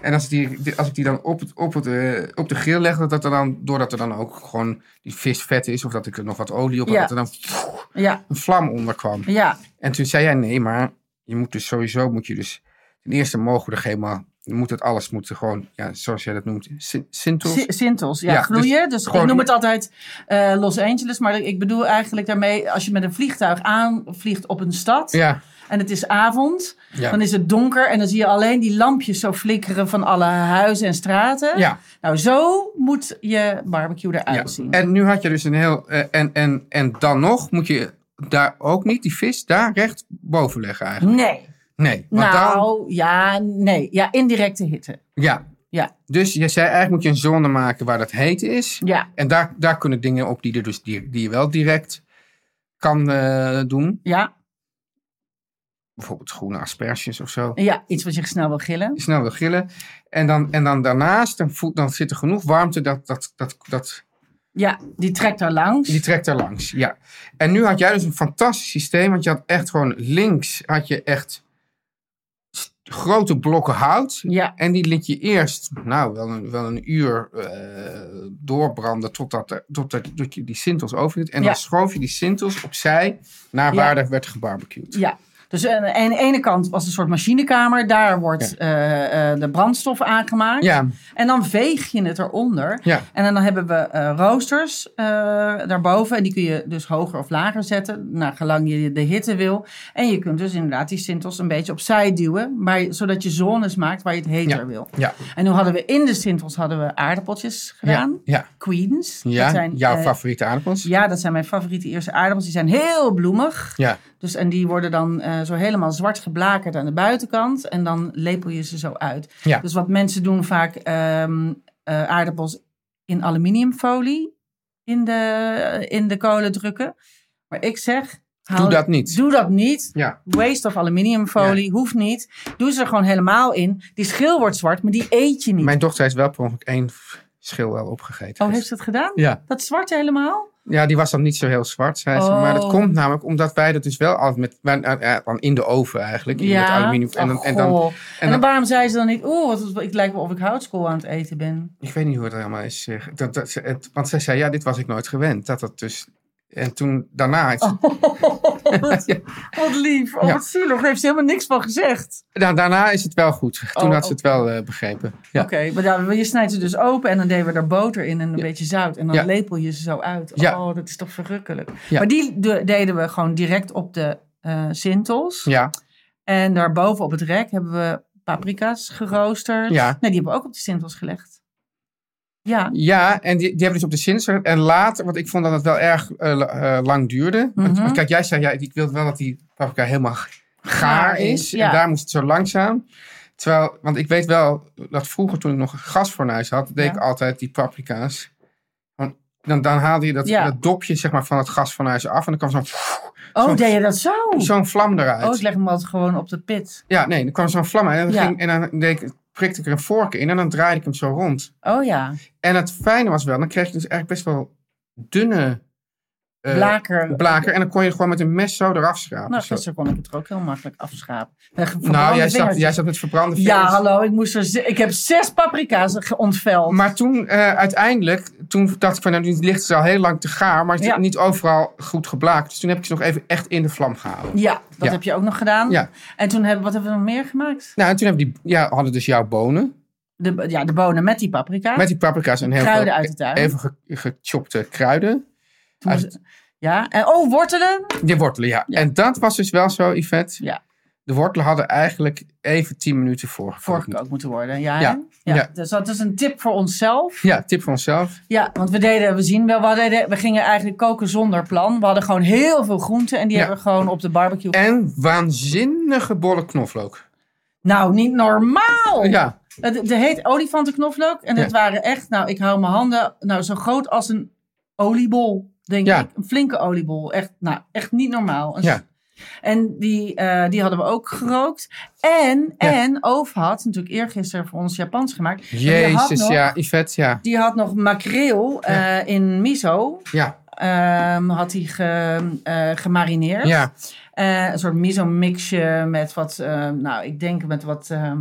Speaker 2: en als ik die, die- als ik die dan op, het- op, het, eh, op de grill legde, dat er dan, doordat er dan ook gewoon die vis vet is of dat ik er nog wat olie op had,
Speaker 3: Ja.
Speaker 2: dat er dan pff,
Speaker 3: Ja,
Speaker 2: een vlam onder kwam.
Speaker 3: ja.
Speaker 2: En toen zei jij, nee, maar je moet dus sowieso, moet je dus, ten eerste mogen we er geen, maar je moet het alles moeten gewoon, ja, zoals jij dat noemt, sin- sintels.
Speaker 3: Si- Sintels, ja,
Speaker 2: Ja,
Speaker 3: gloeien. Dus,
Speaker 2: gewoon-
Speaker 3: ik noem het altijd eh, Los Angeles, maar ik bedoel eigenlijk daarmee als je met een vliegtuig aanvliegt op een stad.
Speaker 2: ja,
Speaker 3: en het is avond,
Speaker 2: Ja.
Speaker 3: dan is het donker en dan zie je alleen die lampjes zo flikkeren van alle huizen en straten.
Speaker 2: Ja.
Speaker 3: Nou, zo moet je barbecue eruit
Speaker 2: Ja.
Speaker 3: zien.
Speaker 2: En nu had je dus een heel. eh, en, en, en dan nog moet je daar ook niet die vis daar recht boven leggen eigenlijk.
Speaker 3: nee.
Speaker 2: Nee. Want dan,
Speaker 3: Hm. Nou, ja, nee. Ja, indirecte hitte.
Speaker 2: ja.
Speaker 3: Ja,
Speaker 2: Dus je zei eigenlijk moet je een zone maken waar dat heet is.
Speaker 3: ja,
Speaker 2: En daar, daar kunnen dingen op die, er dus, die, die je wel direct kan eh, doen.
Speaker 3: ja,
Speaker 2: Bijvoorbeeld groene asperges of zo.
Speaker 3: ja. Iets wat je snel wil gillen.
Speaker 2: Snel wil gillen. En dan, en dan daarnaast, dan, voelt, dan zit er genoeg warmte dat, dat, dat, dat
Speaker 3: Ja, die trekt daar langs.
Speaker 2: Die trekt er langs, ja. En nu had jij dus een fantastisch systeem, want je had echt gewoon links had je echt st- grote blokken hout.
Speaker 3: Ja,
Speaker 2: En die liet je eerst, nou, wel een, wel een uur eh, doorbranden totdat, er- totdat, tot je die sintels overhield. En
Speaker 3: Ja.
Speaker 2: dan schoof je die sintels opzij naar
Speaker 3: Ja.
Speaker 2: waar er werd gebarbecued.
Speaker 3: ja. Dus aan de aan de ene kant was een soort machinekamer. Daar wordt eh, eh, de brandstof aangemaakt.
Speaker 2: Ja,
Speaker 3: En dan veeg je het eronder.
Speaker 2: ja.
Speaker 3: En dan hebben we eh, roosters eh, daarboven. En die kun je dus hoger of lager zetten. Naar gelang je de hitte wil. En je kunt dus inderdaad die sintels een beetje opzij duwen. Maar, zodat je zones maakt waar je het heter wil.
Speaker 2: Ja,
Speaker 3: En nu hadden we in de sintels hadden we aardappeltjes gedaan.
Speaker 2: ja, ja.
Speaker 3: Queens.
Speaker 2: ja. jouw
Speaker 3: eh,
Speaker 2: favoriete aardappels. Ja.
Speaker 3: Ja, dat zijn mijn favoriete eerste aardappels. Die zijn heel bloemig.
Speaker 2: Ja.
Speaker 3: Dus, en die worden dan eh, zo helemaal zwart geblakerd aan de buitenkant. En dan lepel je ze zo uit.
Speaker 2: Ja.
Speaker 3: Dus wat mensen doen vaak ehm, eh, aardappels in aluminiumfolie in de, eh, in de kolen drukken. Maar ik zeg... haal-
Speaker 2: dat niet.
Speaker 3: Doe dat niet.
Speaker 2: Ja.
Speaker 3: Waste of aluminiumfolie, hoeft niet. Doe ze er gewoon helemaal in. Die schil wordt zwart, maar die eet je niet.
Speaker 2: Mijn dochter heeft wel per ongeluk één schil wel opgegeten.
Speaker 3: Oh, heeft ze dat gedaan?
Speaker 2: Ja.
Speaker 3: Dat zwarte helemaal?
Speaker 2: Ja, die was dan niet zo heel zwart, zei ze.
Speaker 3: Oh.
Speaker 2: Maar dat komt namelijk omdat wij dat dus wel altijd met, wij- eh, eh, dan in de oven eigenlijk. in Met aluminium. En dan,
Speaker 3: Ach,
Speaker 2: en dan,
Speaker 3: Oh, goh. En dan, waarom zei ze dan niet, oeh, wat- wat- ik lijkt wel of ik houtskool aan het eten ben.
Speaker 2: ik weet niet hoe het allemaal is. eh, Dat, dat, ze- het, want zij zei, ja, dit was ik nooit gewend. Dat dat dus, en toen daarna, heeft
Speaker 3: Oh.
Speaker 2: ze-
Speaker 3: wat, wat lief, oh,
Speaker 2: Ja.
Speaker 3: wat zielig, daar heeft ze helemaal niks van gezegd.
Speaker 2: da- daarna is het wel goed. Toen
Speaker 3: Oh,
Speaker 2: had ze het wel eh, begrepen. Ja.
Speaker 3: Oké, maar dan, je snijdt ze dus open en dan deden we er boter in en een beetje zout. En dan
Speaker 2: Ja.
Speaker 3: lepel je ze zo uit.
Speaker 2: Ja.
Speaker 3: Oh, dat is toch verrukkelijk.
Speaker 2: Ja.
Speaker 3: Maar die de- deden we gewoon direct op de eh sintels.
Speaker 2: Ja,
Speaker 3: En daarboven op het rek hebben we paprika's geroosterd.
Speaker 2: Ja.
Speaker 3: Nee, die hebben we ook op de sintels gelegd. Ja,
Speaker 2: ja en die, die hebben dus op de sins. En later, want ik vond dat het wel erg eh, la- eh, lang duurde.
Speaker 3: Mhm.
Speaker 2: Want- want kijk, jij zei, ja, ik wilde wel dat die paprika helemaal gaar is.
Speaker 3: Ja.
Speaker 2: En daar moest het zo langzaam. Terwijl, want ik weet wel dat vroeger toen ik nog een gasfornuis had, deed
Speaker 3: Ja.
Speaker 2: ik altijd die paprika's. Want Dan, dan haalde je dat,
Speaker 3: Ja.
Speaker 2: dat dopje zeg maar, van het gasfornuis af en dan kwam zo'n
Speaker 3: Oh,
Speaker 2: Zo'n-
Speaker 3: deed je dat zo?
Speaker 2: zo'n vlam eruit.
Speaker 3: Oh, ik leg hem altijd gewoon op de pit.
Speaker 2: Ja, nee, dan kwam zo'n vlam uit en dan,
Speaker 3: Ja.
Speaker 2: ging, en dan deed ik, prikte ik er een vork in en dan draaide ik hem zo rond.
Speaker 3: Oh ja,
Speaker 2: En het fijne was wel, dan kreeg je dus eigenlijk best wel dunne eh,
Speaker 3: blaker.
Speaker 2: blaker en dan kon je gewoon met een mes zo eraf schrapen.
Speaker 3: Nou,
Speaker 2: Zo.
Speaker 3: gisteren kon ik het er ook heel makkelijk afschapen. Met
Speaker 2: Nou,
Speaker 3: verbrande
Speaker 2: jij zat,
Speaker 3: vingertjes.
Speaker 2: jij zat met verbrande vingers.
Speaker 3: Ja, hallo, ik, moest er, ze- ik heb zes paprika's ge- ontveld.
Speaker 2: Maar toen eh, uiteindelijk, toen dacht ik van, nou, nu ligt ze al heel lang te gaar, maar het is
Speaker 3: Ja.
Speaker 2: niet overal goed geblakt. Dus toen heb ik ze nog even echt in de vlam gehouden.
Speaker 3: ja, dat
Speaker 2: Ja.
Speaker 3: heb je ook nog gedaan.
Speaker 2: Ja.
Speaker 3: En toen hebben, wat hebben we nog meer gemaakt?
Speaker 2: Nou, en toen hebben die, ja, hadden dus jouw bonen
Speaker 3: De, ja, de bonen met die paprika.
Speaker 2: met die paprika's en heel
Speaker 3: Kruiden
Speaker 2: veel
Speaker 3: uit de tuin.
Speaker 2: even ge- gechopte kruiden.
Speaker 3: Toen
Speaker 2: uit-
Speaker 3: moest- ja, en oh, wortelen.
Speaker 2: Die wortelen, ja. En dat was dus wel zo, Yvette.
Speaker 3: Ja.
Speaker 2: De wortelen hadden eigenlijk even 10 minuten voorgekookt.
Speaker 3: Voorgekookt moeten worden. Ja, hè?
Speaker 2: Ja, ja.
Speaker 3: Dus dat is een tip voor onszelf.
Speaker 2: Ja, tip van onszelf.
Speaker 3: Ja, want we deden, we zien wel, we, deden, we gingen eigenlijk koken zonder plan. We hadden gewoon heel veel groenten en die
Speaker 2: Ja.
Speaker 3: hebben we gewoon op de barbecue.
Speaker 2: En waanzinnige bolle knoflook.
Speaker 3: Nou, niet normaal!
Speaker 2: Ja,
Speaker 3: Het, het heet olifantenknoflook. En dat
Speaker 2: Ja.
Speaker 3: waren echt, nou, ik hou mijn handen nou, zo groot als een oliebol, denk
Speaker 2: Ja.
Speaker 3: ik. Een flinke oliebol. Echt, nou, echt niet normaal. Een s-
Speaker 2: Ja.
Speaker 3: En die, eh, die hadden we ook gerookt. En,
Speaker 2: Ja.
Speaker 3: en Oof had natuurlijk eergisteren voor ons Japans gemaakt. En die had
Speaker 2: jezus,
Speaker 3: nog-
Speaker 2: ja, Yvette, ja.
Speaker 3: Die had nog makreel eh, in miso.
Speaker 2: Ja,
Speaker 3: ehm, had hij ge- eh, gemarineerd.
Speaker 2: ja.
Speaker 3: Eh, een soort miso-mixje met wat, ehm, nou, ik denk met wat ehm,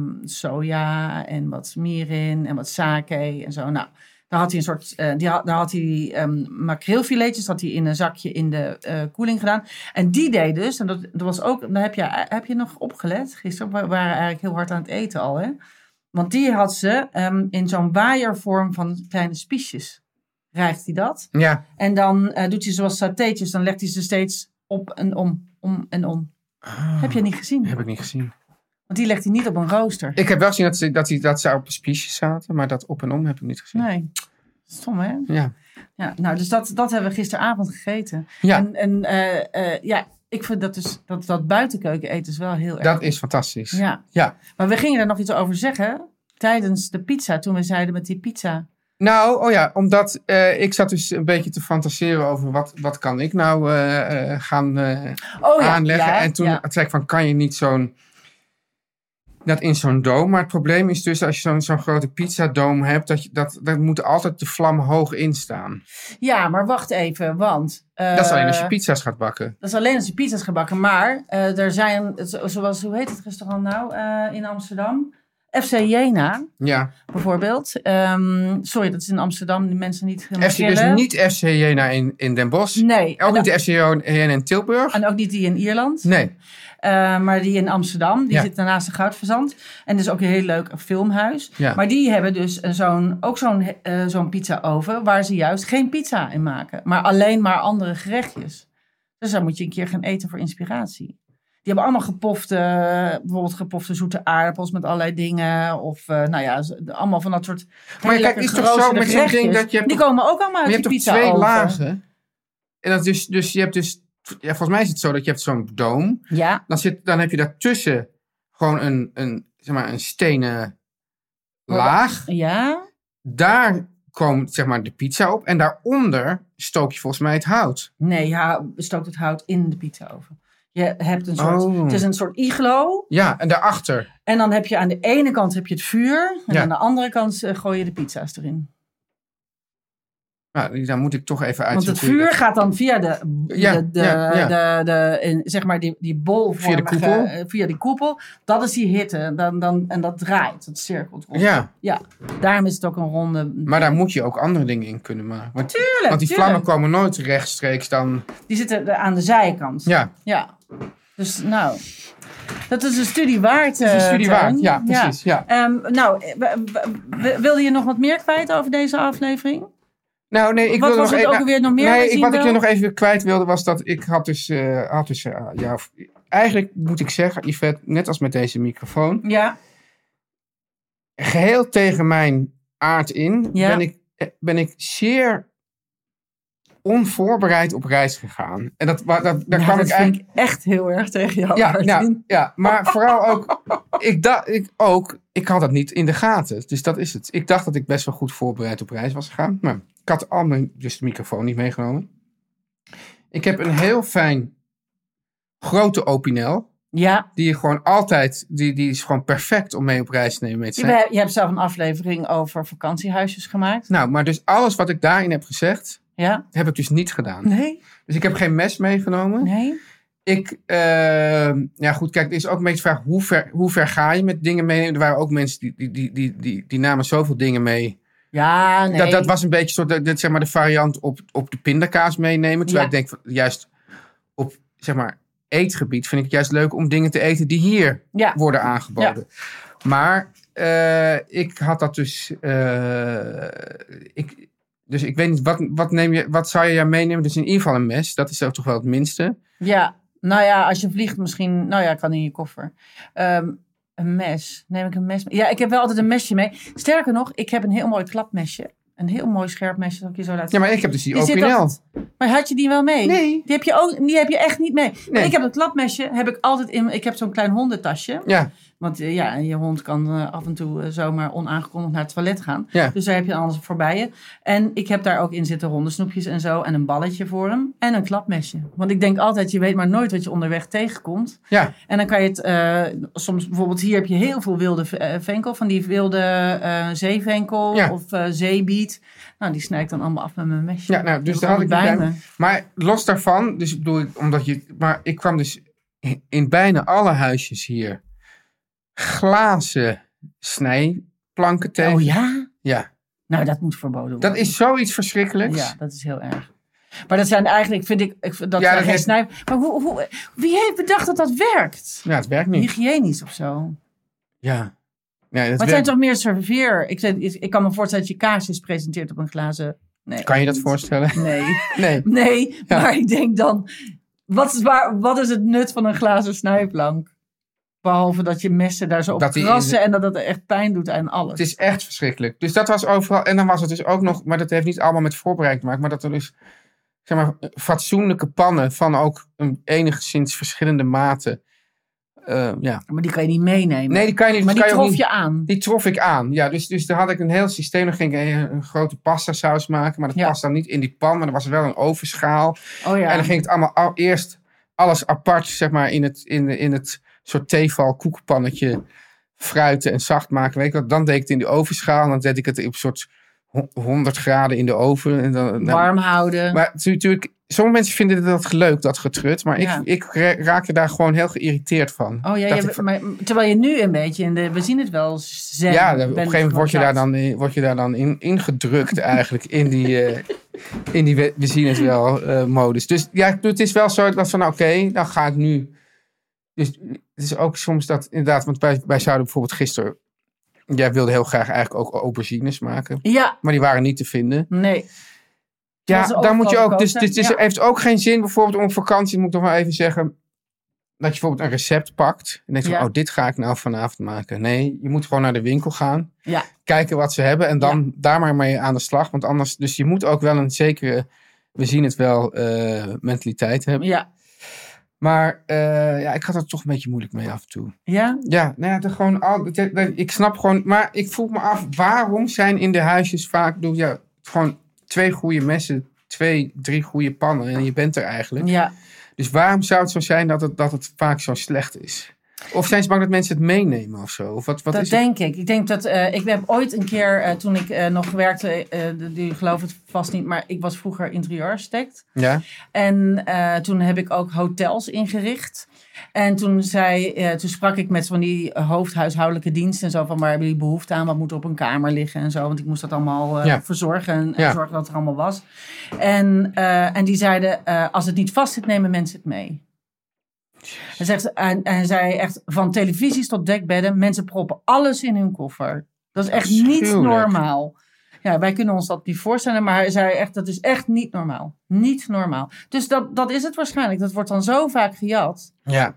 Speaker 3: soja en wat mirin en wat sake en zo. Nou, daar had hij een soort, eh, die had, daar had hij ehm makreelfiletjes had hij in een zakje in de eh, koeling gedaan. En die deed dus, en dat, dat was ook, daar heb je, heb je nog opgelet gisteren, we waren eigenlijk heel hard aan het eten al, hè? Want die had ze ehm, in zo'n waaiervorm van kleine spiesjes. Rijgt hij dat?
Speaker 2: ja.
Speaker 3: En dan eh, doet hij zoals satéetjes, dan legt hij ze steeds op en om, om en om. Heb jij niet gezien?
Speaker 2: Heb ik niet gezien.
Speaker 3: Want die legt hij niet op een rooster.
Speaker 2: Ik heb wel gezien dat ze, dat, die, dat ze op een species zaten, maar dat op en om heb ik niet gezien.
Speaker 3: Nee. Stom, hè?
Speaker 2: Ja.
Speaker 3: Ja, nou, dus dat, dat hebben we gisteravond gegeten.
Speaker 2: Ja.
Speaker 3: En, en eh, eh, ja, ik vind dat dus, dat, dat buitenkeuken eten is wel heel erg.
Speaker 2: Dat is fantastisch.
Speaker 3: Ja.
Speaker 2: Ja.
Speaker 3: Maar we gingen daar nog iets over zeggen tijdens de pizza, toen we zeiden met die pizza.
Speaker 2: Nou, oh ja, omdat eh, ik zat dus een beetje te fantaseren over wat, wat kan ik nou eh, eh, gaan eh,
Speaker 3: Oh ja.
Speaker 2: aanleggen.
Speaker 3: ja,
Speaker 2: en toen
Speaker 3: ja.
Speaker 2: zei ik van, kan je niet zo'n... Dat in zo'n doom. Maar het probleem is dus als je zo'n zo'n grote pizzadoom hebt, dat, je, dat, dat moet altijd de vlam hoog in staan.
Speaker 3: Ja, maar wacht even, want... eh,
Speaker 2: Dat is alleen als je pizza's gaat bakken.
Speaker 3: Dat is alleen als je pizza's gaat bakken. Maar eh, er zijn, zo- zoals, hoe heet het restaurant nou eh, in Amsterdam? FC Jena,
Speaker 2: Ja.
Speaker 3: bijvoorbeeld. Ehm, sorry, dat is in Amsterdam, die mensen niet helemaal
Speaker 2: FC, dus
Speaker 3: kennen.
Speaker 2: niet FC Jena in, in Den Bosch.
Speaker 3: Nee, Nou.
Speaker 2: Ook
Speaker 3: en,
Speaker 2: niet FC Jena in Tilburg.
Speaker 3: en ook niet die in Ierland.
Speaker 2: Nee.
Speaker 3: Eh, maar die in Amsterdam, die
Speaker 2: Ja.
Speaker 3: zit daarnaast de Goudverzand. En dat is ook een heel leuk filmhuis.
Speaker 2: Ja.
Speaker 3: Maar die hebben dus een- zo'n, ook zo'n, eh, zo'n pizzaoven waar ze juist geen pizza in maken. Maar alleen maar andere gerechtjes. Dus daar moet je een keer gaan eten voor inspiratie. Die hebben allemaal gepofte, bijvoorbeeld gepofte zoete aardappels met allerlei dingen. Of eh, nou ja, z- allemaal van dat soort
Speaker 2: Maar kijk, is toch zo met zo'n ding dat je hebt
Speaker 3: Die
Speaker 2: toch-
Speaker 3: komen ook allemaal uit
Speaker 2: Maar je hebt
Speaker 3: die
Speaker 2: toch
Speaker 3: pizza
Speaker 2: twee lagen? En dat is dus, dus je hebt dus... Ja, volgens mij is het zo dat je hebt zo'n doom.
Speaker 3: Ja,
Speaker 2: Dan, zit, dan heb je daartussen gewoon een, een, zeg maar, een stenen laag.
Speaker 3: ja.
Speaker 2: Daar komt zeg maar de pizza op. En daaronder stook je volgens mij het hout.
Speaker 3: Nee, ja, stookt het hout in de pizzaoven. Je hebt een soort,
Speaker 2: Oh.
Speaker 3: het is een soort iglo.
Speaker 2: Ja, en daarachter.
Speaker 3: En dan heb je aan de ene kant heb je het vuur. En
Speaker 2: Ja.
Speaker 3: aan de andere kant eh, gooi je de pizza's erin.
Speaker 2: Nou, daar moet ik toch even uit.
Speaker 3: Want het vuur gaat dan via de,
Speaker 2: Ja,
Speaker 3: de, de,
Speaker 2: ja, ja.
Speaker 3: de, de- in, zeg maar die, die bol
Speaker 2: Via de koepel.
Speaker 3: Via die koepel. Dat is die hitte. Dan, dan, en dat draait. Dat cirkelt rond.
Speaker 2: Ja,
Speaker 3: Ja, daarom is het ook een ronde.
Speaker 2: maar daar moet je ook andere dingen in kunnen maken. Want,
Speaker 3: Tuurlijk,
Speaker 2: want die
Speaker 3: tuurlijk.
Speaker 2: vlammen komen nooit rechtstreeks dan...
Speaker 3: Die zitten er aan de zijkant.
Speaker 2: Ja,
Speaker 3: Ja. Dus nou, dat is een studie waard. eh, Dat
Speaker 2: is een studie waard, ja, precies, ja.
Speaker 3: nou, eh, w- w- w- wilde je nog wat meer kwijt over deze aflevering?
Speaker 2: Nou, nee, ik
Speaker 3: Wat
Speaker 2: wilde
Speaker 3: was
Speaker 2: nog
Speaker 3: het
Speaker 2: even-
Speaker 3: ook weer nog meer
Speaker 2: Nee,
Speaker 3: gezien
Speaker 2: ik, wat ik
Speaker 3: wel?
Speaker 2: je nog even kwijt wilde was dat ik had dus... eh, had dus eh, ja, of- eigenlijk moet ik zeggen, Yvette, net als met deze microfoon...
Speaker 3: Ja.
Speaker 2: Geheel tegen mijn aard in
Speaker 3: Ja.
Speaker 2: ben, ik, eh, ben ik zeer onvoorbereid op reis gegaan. En dat, wa- dat, daar
Speaker 3: Ja,
Speaker 2: kwam
Speaker 3: dat
Speaker 2: ik
Speaker 3: vind
Speaker 2: eigenlijk...
Speaker 3: ik echt heel erg tegen jou.
Speaker 2: Ja,
Speaker 3: Martin.
Speaker 2: nou, ja, maar vooral ook ik, dacht, ik ook, ik had dat niet in de gaten. Dus dat is het. Ik dacht dat ik best wel goed voorbereid op reis was gegaan. Maar ik had al mijn, dus de microfoon niet meegenomen. Ik heb een heel fijn grote opinel.
Speaker 3: ja.
Speaker 2: Die je gewoon altijd, die, die is gewoon perfect om mee op reis te nemen. Mee te
Speaker 3: Je,
Speaker 2: zijn.
Speaker 3: be- je hebt zelf een aflevering over vakantiehuisjes gemaakt.
Speaker 2: Nou, maar dus alles wat ik daarin heb gezegd,
Speaker 3: Ja.
Speaker 2: heb ik dus niet gedaan.
Speaker 3: Nee.
Speaker 2: Dus ik heb geen mes meegenomen.
Speaker 3: Nee.
Speaker 2: Ik, eh, ja goed, kijk, er is ook een beetje de vraag, hoe ver, hoe ver ga je met dingen mee? Er waren ook mensen die, die, die, die, die, die namen zoveel dingen mee.
Speaker 3: Ja, nee.
Speaker 2: Dat, dat was een beetje soort, dat, dat, zeg maar, de variant op, op de pindakaas meenemen. Terwijl
Speaker 3: Ja.
Speaker 2: ik denk, van, juist op, zeg maar, eetgebied vind ik het juist leuk om dingen te eten die hier
Speaker 3: Ja.
Speaker 2: worden aangeboden. Maar eh, ik had dat dus, eh, ik, dus ik weet niet, wat, wat, neem je, wat zou je daar meenemen? Dus in ieder geval een mes, dat is ook toch wel het minste.
Speaker 3: Ja. Nou ja, als je vliegt misschien... Nou ja, kan in je koffer. Ehm, een mes. Neem ik een mes mee? Ja, ik heb wel altijd een mesje mee. Sterker nog, ik heb een heel mooi klapmesje. Een heel mooi scherp mesje dat ik je zo laat
Speaker 2: Ja, maar ik heb dus die,
Speaker 3: Die zit
Speaker 2: opinel.
Speaker 3: altijd- Maar had je die wel mee?
Speaker 2: Nee.
Speaker 3: Die heb je, ook, die heb je echt niet mee. Maar
Speaker 2: Nee.
Speaker 3: Ik heb dat klapmesje, heb ik altijd in. Ik heb zo'n klein hondentasje.
Speaker 2: Ja,
Speaker 3: Want eh, ja, je hond kan eh, af en toe eh, zomaar onaangekondigd naar het toilet gaan.
Speaker 2: Ja.
Speaker 3: Dus daar heb je alles voorbij je. En ik heb daar ook in zitten hondensnoepjes en zo. En een balletje voor hem. En een klapmesje. Want ik denk altijd, je weet maar nooit wat je onderweg tegenkomt.
Speaker 2: ja.
Speaker 3: En dan kan je het, eh, soms bijvoorbeeld hier heb je heel veel wilde v- eh, venkel, van die wilde eh, zeevenkel
Speaker 2: Ja.
Speaker 3: of eh, zeebiet. Nou, die snij ik dan allemaal af met mijn mesje.
Speaker 2: ja nou, dus
Speaker 3: Dat
Speaker 2: daar had ik
Speaker 3: allemaal
Speaker 2: niet bij me. Maar los daarvan, dus ik bedoel, ik- omdat je, maar ik kwam dus in- in bijna alle huisjes hier glazen snijplanken tegen.
Speaker 3: Oh ja?
Speaker 2: Ja.
Speaker 3: Nou, dat moet verboden worden.
Speaker 2: dat is zoiets verschrikkelijks.
Speaker 3: Ja, dat is heel erg. Maar dat zijn eigenlijk, vind ik, ik vind- dat
Speaker 2: Ja,
Speaker 3: zijn
Speaker 2: dat
Speaker 3: geen
Speaker 2: heeft-
Speaker 3: snij... Maar hoe, hoe, wie heeft bedacht dat dat werkt?
Speaker 2: Ja, het werkt niet.
Speaker 3: Hygiënisch of zo.
Speaker 2: Ja. Nee, dat
Speaker 3: Maar het zijn
Speaker 2: werkt.
Speaker 3: toch meer serveer... Ik, weet- ik kan me voorstellen dat je kaarsjes presenteert op een glazen... Nee,
Speaker 2: Kan je dat voorstellen?
Speaker 3: Nee.
Speaker 2: Nee.
Speaker 3: Nee,
Speaker 2: Ja.
Speaker 3: maar ik denk dan... Wat is, waar, wat is het nut van een glazen snijplank? Behalve dat je messen daar zo op
Speaker 2: Dat die in
Speaker 3: krassen
Speaker 2: de-
Speaker 3: en dat dat echt pijn doet aan alles.
Speaker 2: Het is echt verschrikkelijk. Dus dat was overal. En dan was het dus ook nog, maar dat heeft niet allemaal met voorbereiding te maken, maar dat er dus zeg maar, fatsoenlijke pannen van ook een, enigszins verschillende maten. eh, ja.
Speaker 3: Maar die kan je niet meenemen.
Speaker 2: Nee, die kan je niet.
Speaker 3: maar
Speaker 2: kan
Speaker 3: die
Speaker 2: je ook
Speaker 3: trof
Speaker 2: niet-
Speaker 3: je aan.
Speaker 2: Die trof ik aan. Ja, dus, dus daar had ik een heel systeem. Dan ging ik een, een grote pasta saus maken. Maar dat
Speaker 3: Ja.
Speaker 2: past dan niet in die pan. Maar er was wel een ovenschaal.
Speaker 3: Oh ja.
Speaker 2: En dan ging het allemaal al- eerst alles apart, zeg maar, in het, in, de- in het soort theeval koekpannetje fruiten en zacht maken. Weet ik wat. Dan deed ik het in de ovenschaal. En dan deed ik het op een soort ho- 100 graden in de oven. En dan, nou,
Speaker 3: Warm houden.
Speaker 2: Maar het is natuurlijk, sommige mensen vinden dat leuk, dat getrut. Maar ik,
Speaker 3: Ja.
Speaker 2: ik ra- raakte daar gewoon heel geïrriteerd van.
Speaker 3: Oh ja,
Speaker 2: Dat
Speaker 3: je-
Speaker 2: ik van-
Speaker 3: maar, terwijl je nu een beetje in de... We zien het wel zen.
Speaker 2: ja, op
Speaker 3: bent
Speaker 2: een gegeven moment word je daar
Speaker 3: gewoon
Speaker 2: dan, in- word je daar dan in, ingedrukt eigenlijk. In die, eh, in die we, we zien het wel eh, modus. Dus ja, het is wel zo dat van nou, oké, dan ga ik nu. Dus het is ook soms dat inderdaad, want wij, wij zouden bijvoorbeeld gisteren. Jij wilde heel graag eigenlijk ook aubergines maken.
Speaker 3: klaar. Ja,
Speaker 2: Maar die waren niet te vinden.
Speaker 3: nee.
Speaker 2: Ja,
Speaker 3: Dat ze
Speaker 2: daar moet je
Speaker 3: overal
Speaker 2: ook. Dus
Speaker 3: gekocht
Speaker 2: het
Speaker 3: zijn, ja.
Speaker 2: heeft ook geen zin bijvoorbeeld om op vakantie, moet ik nog maar even zeggen. Dat je bijvoorbeeld een recept pakt. En denkt
Speaker 3: Ja.
Speaker 2: van, oh, dit ga ik nou vanavond maken. Nee, je moet gewoon naar de winkel gaan
Speaker 3: Ja,
Speaker 2: kijken wat ze hebben en dan daar maar mee aan de slag. Want anders, dus je moet ook wel een zekere, we zien het wel, eh, mentaliteit hebben.
Speaker 3: ja.
Speaker 2: Maar eh, ja, ik had er toch een beetje moeilijk mee af en toe.
Speaker 3: Ja,
Speaker 2: Ja, nou ja, de, gewoon al, het- het- ik snap gewoon, maar ik vroeg me af, waarom zijn in de huisjes vaak, doe ja, gewoon twee goede messen, twee, drie goede pannen en je bent er eigenlijk.
Speaker 3: ja.
Speaker 2: Dus waarom zou het zo zijn dat het, dat het vaak zo slecht is? Of zijn ze bang dat mensen het meenemen of zo? Of wat, wat
Speaker 3: dat
Speaker 2: is het?
Speaker 3: denk ik. Ik denk dat eh, ik heb ooit een keer eh, toen ik eh, nog werkte, eh jullie geloven het vast niet, maar ik was vroeger interieurarchitect.
Speaker 2: Ja?
Speaker 3: En eh, toen heb ik ook hotels ingericht. En toen, zei, eh, toen sprak ik met van die hoofdhuishoudelijke diensten en zo van waar hebben jullie behoefte aan? Wat moet er op een kamer liggen en zo? Want ik moest dat allemaal eh,
Speaker 2: Ja.
Speaker 3: verzorgen en, en
Speaker 2: Ja.
Speaker 3: zorgen dat het er allemaal was. En, eh, en die zeiden, eh, als het niet vast zit, nemen mensen het mee. Hij, zegt, en, en hij zei echt van televisies tot dekbedden, mensen proppen alles in hun koffer. Dat is echt niet
Speaker 2: Afschuwelijk.
Speaker 3: normaal. Ja, wij kunnen ons dat niet voorstellen, maar hij zei echt, dat is echt niet normaal. Niet normaal. Dus dat, dat is het waarschijnlijk. Dat wordt dan zo vaak gejat
Speaker 2: Ja.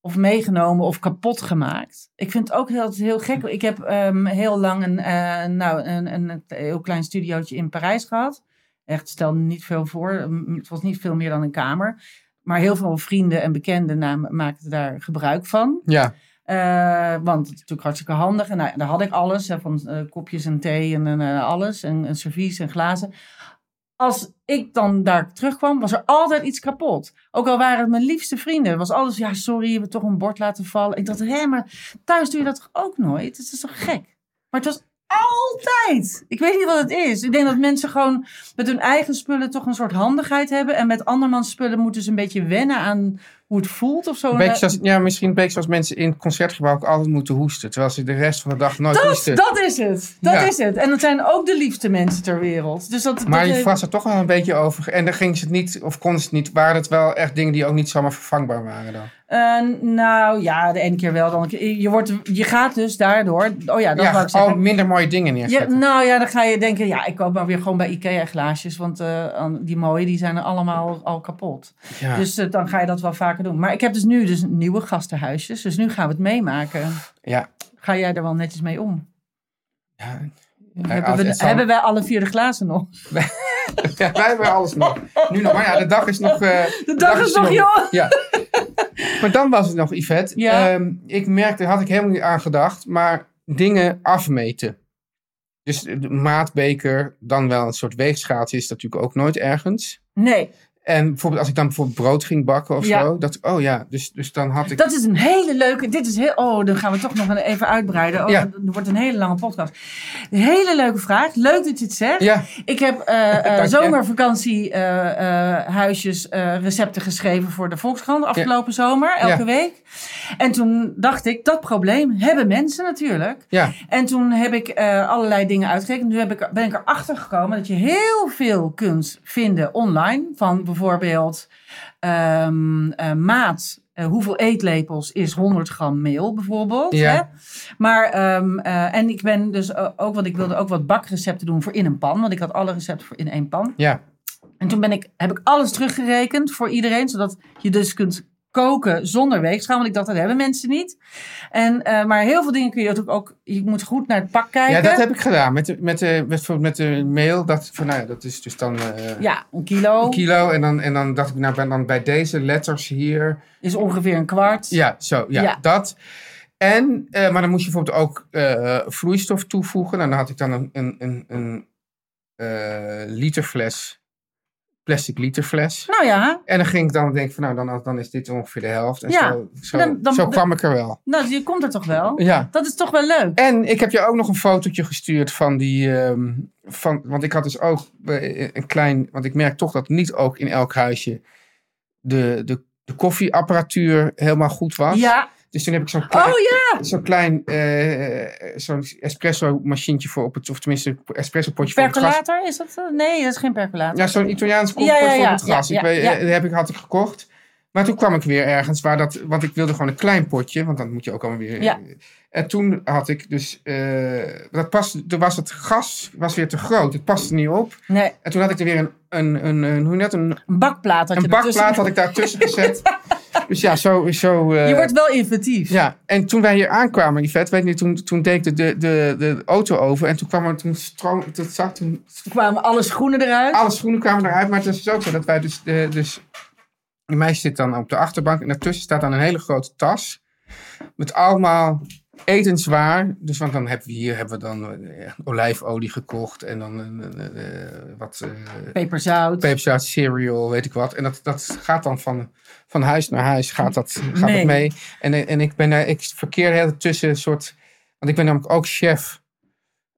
Speaker 3: of meegenomen of kapot gemaakt. Ik vind het ook heel, heel gek. Ik heb ehm, heel lang een, eh, nou, een, een, een heel klein studiootje in Parijs gehad. Echt, stel niet veel voor. Mm, Het was niet veel meer dan een kamer. Maar heel veel vrienden en bekenden namen, maakten daar gebruik van.
Speaker 2: Ja.
Speaker 3: Eh, want het is natuurlijk hartstikke handig. En nou, daar had ik alles. Hè, van eh, kopjes en thee en, en, eh, alles. En, en servies en glazen. Als ik dan daar terugkwam, was er altijd iets kapot. Ook al waren het mijn liefste vrienden. was alles, ja sorry, je hebt toch een bord laten vallen. Ik dacht, hé, maar thuis doe je dat toch ook nooit? Het is toch gek? Maar het was altijd. Ik weet niet wat het is. Ik denk dat mensen gewoon met hun eigen spullen toch een soort handigheid hebben. En met andermans spullen moeten ze een beetje wennen aan hoe het voelt of zo. eh,
Speaker 2: Een beetje zoals, ja, misschien een beetje zoals mensen in het concertgebouw ook altijd moeten hoesten. Terwijl ze de rest van de dag nooit
Speaker 3: Dat,
Speaker 2: hoesten.
Speaker 3: dat is het. Dat
Speaker 2: Ja.
Speaker 3: is het. En dat zijn ook de liefste mensen ter wereld. Dus dat,
Speaker 2: maar
Speaker 3: dat,
Speaker 2: je
Speaker 3: eh,
Speaker 2: was er toch wel een beetje over. En dan gingen ze het niet, of konden ze het niet, waren het wel echt dingen die ook niet zomaar vervangbaar waren dan.
Speaker 3: eh, nou ja, de ene keer wel. Dan, een keer- je, wordt, je gaat dus daardoor. Oh ja, dat wou
Speaker 2: ja,
Speaker 3: ik zeggen.
Speaker 2: al minder mooie dingen
Speaker 3: Ja,
Speaker 2: neerzetten.
Speaker 3: nou ja, dan ga je denken, ja, ik koop maar weer gewoon bij Ikea glaasjes. Want eh, an- die mooie, die zijn allemaal al kapot.
Speaker 2: Ja.
Speaker 3: Dus eh, dan ga je dat wel vaker doen. Maar ik heb dus nu dus nieuwe gastenhuisjes. Dus nu gaan we het meemaken.
Speaker 2: ja.
Speaker 3: Ga jij er wel netjes mee om?
Speaker 2: ja.
Speaker 3: hebben,
Speaker 2: Eh, als
Speaker 3: we,
Speaker 2: het zal-
Speaker 3: hebben wij alle vier de glazen nog?
Speaker 2: Ja, wij hebben alles nog. Nu nog. Maar ja, de dag is nog... eh, de,
Speaker 3: dag is nog jong.
Speaker 2: Ja. Maar dan was het nog, Yvette.
Speaker 3: Ja.
Speaker 2: Ehm, ik merkte, had ik helemaal niet aan gedacht, maar dingen afmeten. Dus de maatbeker, dan wel een soort weegschaaltje, is dat natuurlijk ook nooit ergens.
Speaker 3: Nee,
Speaker 2: En bijvoorbeeld als ik dan bijvoorbeeld brood ging bakken of
Speaker 3: Ja.
Speaker 2: zo, dat, oh ja, dus, dus dan had ik...
Speaker 3: dat is een hele leuke. Dit is heel. Oh, dan gaan we toch nog even uitbreiden. Oh,
Speaker 2: Ja.
Speaker 3: dat wordt een hele lange podcast. Een hele leuke vraag. Leuk dat je het zegt.
Speaker 2: Ja,
Speaker 3: Ik heb eh
Speaker 2: Dank je.
Speaker 3: zomervakantiehuisjes eh, recepten geschreven voor de Volkskrant afgelopen zomer, elke
Speaker 2: Ja.
Speaker 3: week. En toen dacht ik, dat probleem hebben mensen natuurlijk.
Speaker 2: ja,
Speaker 3: En toen heb ik eh, allerlei dingen uitgerekend. Nu heb ik, ben ik erachter gekomen dat je heel veel kunt vinden online. Van bijvoorbeeld ehm, eh, maat. eh, hoeveel eetlepels is 100 gram meel bijvoorbeeld?
Speaker 2: Ja.
Speaker 3: Hè? Maar, ehm, eh, en ik ben dus eh, ook, want ik wilde ook wat bakrecepten doen voor in een pan. Want ik had alle recepten voor in één pan.
Speaker 2: ja.
Speaker 3: En toen ben ik, heb ik alles teruggerekend voor iedereen, zodat je dus kunt koken zonder weegschaal. Want ik dacht, dat hebben mensen niet. En, eh, maar heel veel dingen kun je natuurlijk ook, je moet goed naar het pak kijken.
Speaker 2: Ja, dat heb ik gedaan. Met de, met de, bijvoorbeeld met de mail dacht ik van, nou ja, dat is dus dan eh,
Speaker 3: Ja, een kilo,
Speaker 2: een kilo. En dan, en dan dacht ik, nou, ben dan bij deze letters hier.
Speaker 3: is ongeveer een kwart.
Speaker 2: Ja, zo, ja,
Speaker 3: Ja.
Speaker 2: dat. En, eh, maar dan moest je bijvoorbeeld ook eh, vloeistof toevoegen. Nou, dan had ik dan een, een, een, een eh, literfles, plastic literfles.
Speaker 3: Nou ja,
Speaker 2: En dan ging ik dan denken van, nou, dan, dan is dit ongeveer de helft. En
Speaker 3: Ja,
Speaker 2: zo, zo,
Speaker 3: dan- dan-
Speaker 2: zo kwam ik er wel.
Speaker 3: nou, je komt er toch wel?
Speaker 2: Ja.
Speaker 3: Dat is toch wel leuk?
Speaker 2: En ik heb je ook nog een fotootje gestuurd van die. ehm, van, want ik had dus ook eh, een klein. Want ik merk toch dat niet ook in elk huisje de, de, de koffieapparatuur helemaal goed was.
Speaker 3: Ja.
Speaker 2: Dus toen heb ik zo'n
Speaker 3: Oh
Speaker 2: klein,
Speaker 3: ja,
Speaker 2: zo'n klein eh, zo'n espresso machientje voor op het. Of tenminste, espresso potje voor op het gas.
Speaker 3: percolator is dat? eh, Nee, dat is geen percolator.
Speaker 2: Ja, zo'n Italiaans
Speaker 3: Ja,
Speaker 2: potje
Speaker 3: ja,
Speaker 2: voor
Speaker 3: ja,
Speaker 2: op het
Speaker 3: ja,
Speaker 2: gas.
Speaker 3: ja,
Speaker 2: ik weet,
Speaker 3: ja.
Speaker 2: eh, Heb ik, had ik gekocht. Maar toen kwam ik weer ergens waar dat. Want ik wilde gewoon een klein potje. Want dan moet je ook allemaal weer.
Speaker 3: Ja.
Speaker 2: En toen had ik dus. eh, dat past, toen was het gas was weer te groot. Het paste niet op.
Speaker 3: Nee,
Speaker 2: En toen had ik er weer een. een, een, een hoe net? Een,
Speaker 3: een bakplaat had je
Speaker 2: een
Speaker 3: ertussen.
Speaker 2: bakplaat had ik daartussen gezet. dus ja, zo. zo eh,
Speaker 3: Je wordt wel inventief.
Speaker 2: ja, en toen wij hier aankwamen, die vet, weet je, toen, toen deed ik de, de, de, de auto over. En toen kwam er, toen stroom, toen zag, toen
Speaker 3: Er kwamen alle schoenen eruit.
Speaker 2: alle schoenen kwamen eruit, maar het is dus ook zo dat wij dus... eh, dus die meisje zit dan op de achterbank en daartussen staat dan een hele grote tas. Met allemaal etenswaar. Dus want dan hebben we hier hebben we dan eh, olijfolie gekocht en dan eh, eh, eh, wat eh
Speaker 3: Peperzout.
Speaker 2: peperzout, cereal, weet ik wat. En dat, dat gaat dan van, van huis naar huis, gaat dat, gaat
Speaker 3: Nee.
Speaker 2: dat mee. En, en ik, ben, daar- ik verkeer heel tussen een soort... Want ik ben namelijk ook chef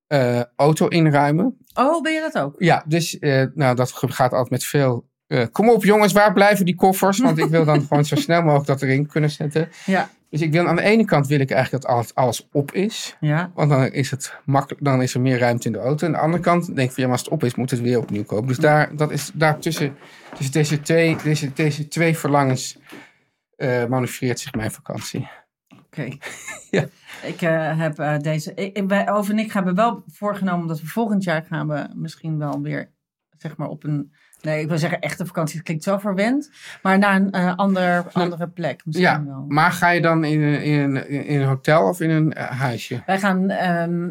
Speaker 2: eh, auto inruimen.
Speaker 3: Oh, ben je dat ook?
Speaker 2: Ja, dus eh, nou, dat ge- gaat altijd met veel. eh, kom op jongens, waar blijven die koffers? Want ik wil dan gewoon zo snel mogelijk dat erin kunnen zetten.
Speaker 3: Ja.
Speaker 2: Dus ik wil, aan de ene kant wil ik eigenlijk dat alles, alles op is.
Speaker 3: Ja.
Speaker 2: Want dan is, het makkelijk, dan is er meer ruimte in de auto. Aan de andere kant denk ik van ja, maar als het op is, moet het weer opnieuw kopen. Dus daar, dat is, daar tussen, tussen deze, twee, deze, deze twee verlangens eh manoeuvreert zich mijn vakantie.
Speaker 3: Oké.
Speaker 2: Ja.
Speaker 3: Ik eh, heb eh, deze. Ik, ik- wij, Over en ik hebben wel voorgenomen dat we volgend jaar gaan we misschien wel weer zeg maar op een. Nee, ik wil zeggen echte vakantie. Het klinkt zo verwend. Maar naar een eh, ander, andere plek misschien
Speaker 2: Ja,
Speaker 3: wel.
Speaker 2: maar ga je dan in, een- in, een- in een hotel of in een eh, huisje?
Speaker 3: Wij gaan, ehm,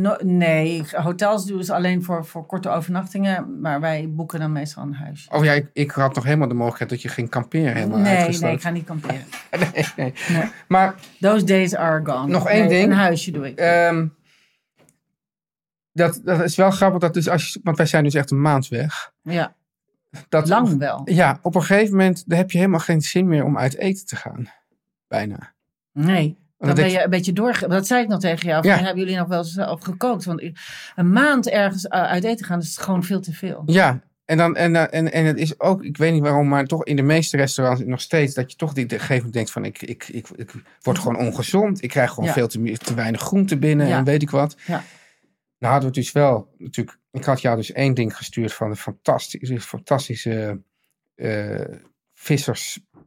Speaker 3: no- nee, hotels doen ze alleen voor, voor korte overnachtingen. Maar wij boeken dan meestal een huis.
Speaker 2: Oh ja, ik, ik had nog helemaal de mogelijkheid dat je ging kamperen helemaal
Speaker 3: Nee,
Speaker 2: uitgesloten.
Speaker 3: nee, ik ga niet kamperen.
Speaker 2: Nee, nee.
Speaker 3: Nee.
Speaker 2: Maar
Speaker 3: Those days are gone.
Speaker 2: Nog één
Speaker 3: Nee,
Speaker 2: ding.
Speaker 3: Een huisje doe ik.
Speaker 2: ehm, dat, dat is wel grappig. Dat dus als je, want wij zijn dus echt een maand weg.
Speaker 3: ja,
Speaker 2: Dat
Speaker 3: lang wel.
Speaker 2: Ja, op een gegeven moment dan heb je helemaal geen zin meer om uit eten te gaan. Bijna.
Speaker 3: Nee. Dan
Speaker 2: dat
Speaker 3: ben
Speaker 2: ik-
Speaker 3: je een beetje doorge... Dat zei ik nog tegen jou.
Speaker 2: Ja.
Speaker 3: Van, Hebben jullie nog wel eens eh, op gekookt? Want ik- een maand ergens eh, uit eten gaan is gewoon veel te veel.
Speaker 2: Ja, en, dan, en, eh, en, en het is ook, ik weet niet waarom, maar toch in de meeste restaurants nog steeds dat je toch die op een gegeven moment denkt van ik, ik, ik, ik word gewoon ongezond. Ik krijg gewoon
Speaker 3: Ja.
Speaker 2: veel te, meer- te weinig groente binnen
Speaker 3: Ja.
Speaker 2: en weet ik wat.
Speaker 3: Ja.
Speaker 2: Nou hadden we dus wel, natuurlijk, ik had jou dus één ding gestuurd van de fantastische, fantastische eh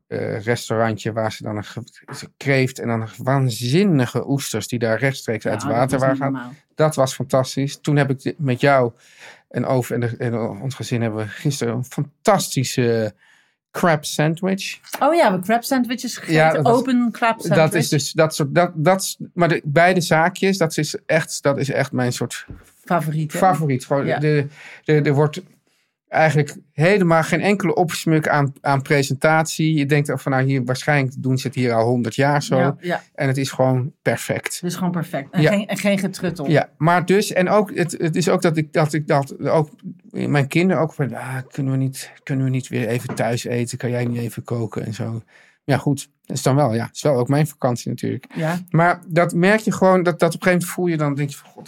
Speaker 2: vissersrestaurantje waar ze dan een ge- ze kreeft en dan een waanzinnige oesters die daar rechtstreeks uit het
Speaker 3: Ja, dat
Speaker 2: water
Speaker 3: is
Speaker 2: waren
Speaker 3: niet
Speaker 2: gaan.
Speaker 3: normaal.
Speaker 2: Dat was fantastisch. Toen heb ik de- met jou en Over en, de- en ons gezin hebben we gisteren een fantastische eh, crab sandwich.
Speaker 3: Oh ja, we crab sandwiches gegeten.
Speaker 2: Ja, dat was-
Speaker 3: Open crab sandwich.
Speaker 2: Dat is dus dat soort dat dat is- maar de, beide zaakjes dat is echt dat is echt mijn soort
Speaker 3: favoriet. hè?
Speaker 2: favoriet. Gewoon
Speaker 3: Ja.
Speaker 2: de, de, er wordt eigenlijk helemaal geen enkele opsmuk aan, aan presentatie. Je denkt van nou hier waarschijnlijk doen ze het hier al 100 jaar zo
Speaker 3: Ja, ja,
Speaker 2: en het is gewoon perfect.
Speaker 3: dus gewoon perfect. En,
Speaker 2: Ja.
Speaker 3: geen, en geen getruttel.
Speaker 2: Ja, maar dus, en ook, het, het is ook dat ik dat, ik dat ook mijn kinderen ook van, ah, kunnen, we niet, kunnen we niet weer even thuis eten? Kan jij niet even koken en zo? Ja, goed, dat is dan wel, ja, het is wel ook mijn vakantie natuurlijk.
Speaker 3: Ja.
Speaker 2: Maar dat merk je gewoon, dat, dat op een gegeven moment voel je dan, denk je van, god,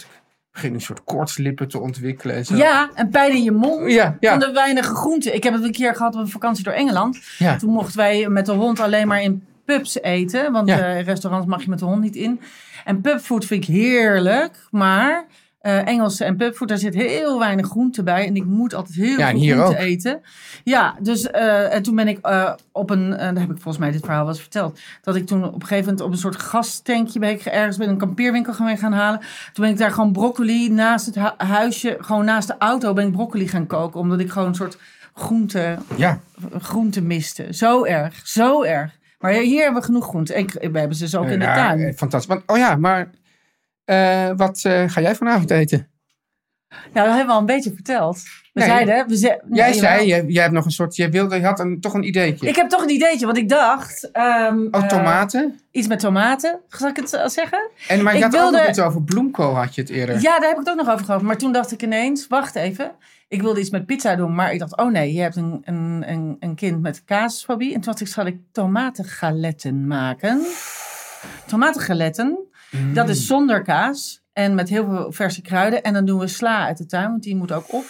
Speaker 2: ik begin een soort kortslippen te ontwikkelen en zo.
Speaker 3: Ja, en pijn in je mond.
Speaker 2: Ja, ja.
Speaker 3: Van de weinige groenten. Ik heb het een keer gehad op een vakantie door Engeland.
Speaker 2: Ja.
Speaker 3: Toen mochten wij met de hond alleen maar in pubs eten. Want
Speaker 2: Ja.
Speaker 3: eh, restaurants mag je met de hond niet in. En pubfood vind ik heerlijk. Maar eh, Engelse en pubfood, daar zit heel weinig groente bij. En ik moet altijd heel
Speaker 2: Ja, en
Speaker 3: veel
Speaker 2: hier
Speaker 3: groente
Speaker 2: ook.
Speaker 3: eten. Ja, dus eh, en toen ben ik eh, op een... eh, daar heb ik volgens mij dit verhaal wel eens verteld. Dat ik toen op een gegeven moment op een soort gastankje... ben ik ergens bij een kampeerwinkel gaan, gaan halen. Toen ben ik daar gewoon broccoli naast het hu- huisje... gewoon naast de auto ben ik broccoli gaan koken. Omdat ik gewoon een soort groente,
Speaker 2: Ja,
Speaker 3: groentemisten. Zo erg, zo erg. Maar hier hebben we genoeg groente. En k- we hebben ze dus ook in de
Speaker 2: Ja,
Speaker 3: tuin.
Speaker 2: eh, Fantastisch. Want, oh ja, maar eh, wat eh, ga jij vanavond eten?
Speaker 3: Nou, dat hebben we al een beetje verteld. We
Speaker 2: Nee.
Speaker 3: zeiden... We ze-
Speaker 2: Jij
Speaker 3: Nee,
Speaker 2: zei,
Speaker 3: jawel.
Speaker 2: jij, jij hebt nog een soort, jij wilde, je had een, toch een ideetje.
Speaker 3: Ik heb toch een ideetje, want ik dacht... ehm,
Speaker 2: oh,
Speaker 3: eh,
Speaker 2: tomaten.
Speaker 3: iets met tomaten, zal ik het eh, zeggen?
Speaker 2: En, maar je
Speaker 3: ik
Speaker 2: had ook
Speaker 3: wilde-
Speaker 2: nog iets over bloemkool, had je het eerder.
Speaker 3: Ja, daar heb ik het ook nog over gehad. Maar toen dacht ik ineens, wacht even. Ik wilde iets met pizza doen, maar ik dacht, oh nee, je hebt een, een, een, een kind met kaasfobie. En toen dacht ik, zal ik tomatengaletten maken? Tomatengaletten,
Speaker 2: Mm.
Speaker 3: dat is zonder kaas en met heel veel verse kruiden. En dan doen we sla uit de tuin, want die moet ook op.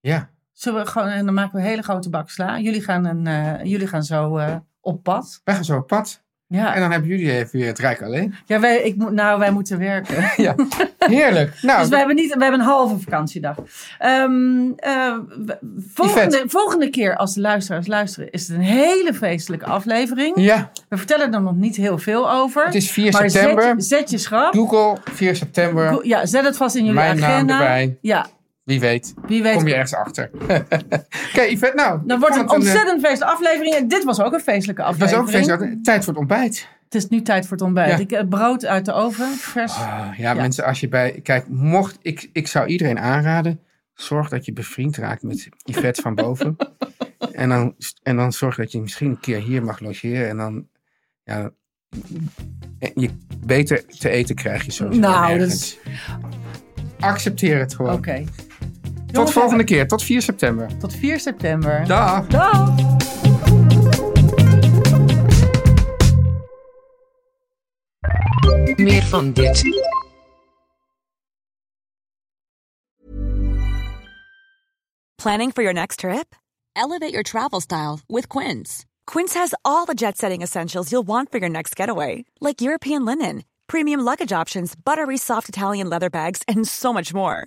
Speaker 2: Ja.
Speaker 3: Zullen we gewoon, en dan maken we een hele grote bak sla. Jullie gaan, een, eh, jullie gaan zo eh, op pad.
Speaker 2: Wij gaan zo op pad.
Speaker 3: Ja,
Speaker 2: En dan hebben jullie even weer het Rijk alleen.
Speaker 3: ja wij, ik, moet- nou, wij moeten werken.
Speaker 2: ja. Heerlijk. Nou,
Speaker 3: Dus we hebben, niet, we hebben een halve vakantiedag. Ehm, eh, we- volgende, volgende keer als de luisteraars luisteren, is het een hele feestelijke aflevering.
Speaker 2: ja,
Speaker 3: We vertellen er nog niet heel veel over.
Speaker 2: het is 4
Speaker 3: maar
Speaker 2: september.
Speaker 3: Zet, zet je schrap.
Speaker 2: Google, 4 september.
Speaker 3: Ja, zet het vast in jullie
Speaker 2: Mijn naam
Speaker 3: agenda.
Speaker 2: erbij.
Speaker 3: Ja,
Speaker 2: Wie weet,
Speaker 3: wie weet.
Speaker 2: kom je ergens achter. Oké, Yvette, nou.
Speaker 3: Dan
Speaker 2: ik vond het
Speaker 3: wordt het een
Speaker 2: een, eh,
Speaker 3: ontzettend feestelijke aflevering. En dit was ook een feestelijke
Speaker 2: Het was
Speaker 3: aflevering.
Speaker 2: ook feestelijk. Tijd voor het ontbijt.
Speaker 3: Het is nu tijd voor het ontbijt.
Speaker 2: Ja.
Speaker 3: Ik, eh, brood uit de oven, vers.
Speaker 2: Ah, ja, mensen, als je bij. Kijk, mocht ik, ik zou iedereen aanraden. Zorg dat je bevriend raakt met Yvette van Boven. En dan, en dan zorg dat je misschien een keer hier mag logeren. En dan. Ja, en je, beter te eten krijg je sowieso.
Speaker 3: Nou, dat
Speaker 2: nergens. Accepteer het gewoon.
Speaker 3: Oké.
Speaker 2: Tot
Speaker 3: Jongens,
Speaker 2: volgende keer, tot 4 september.
Speaker 3: Tot 4 september.
Speaker 2: Dag.
Speaker 3: Dag.
Speaker 5: Meer van dit.
Speaker 6: Planning for your next trip? Elevate your travel style with Quince. Quince has all the jet setting essentials you'll want for your next getaway, like European linen, premium luggage options, buttery soft Italian leather bags, and so much more.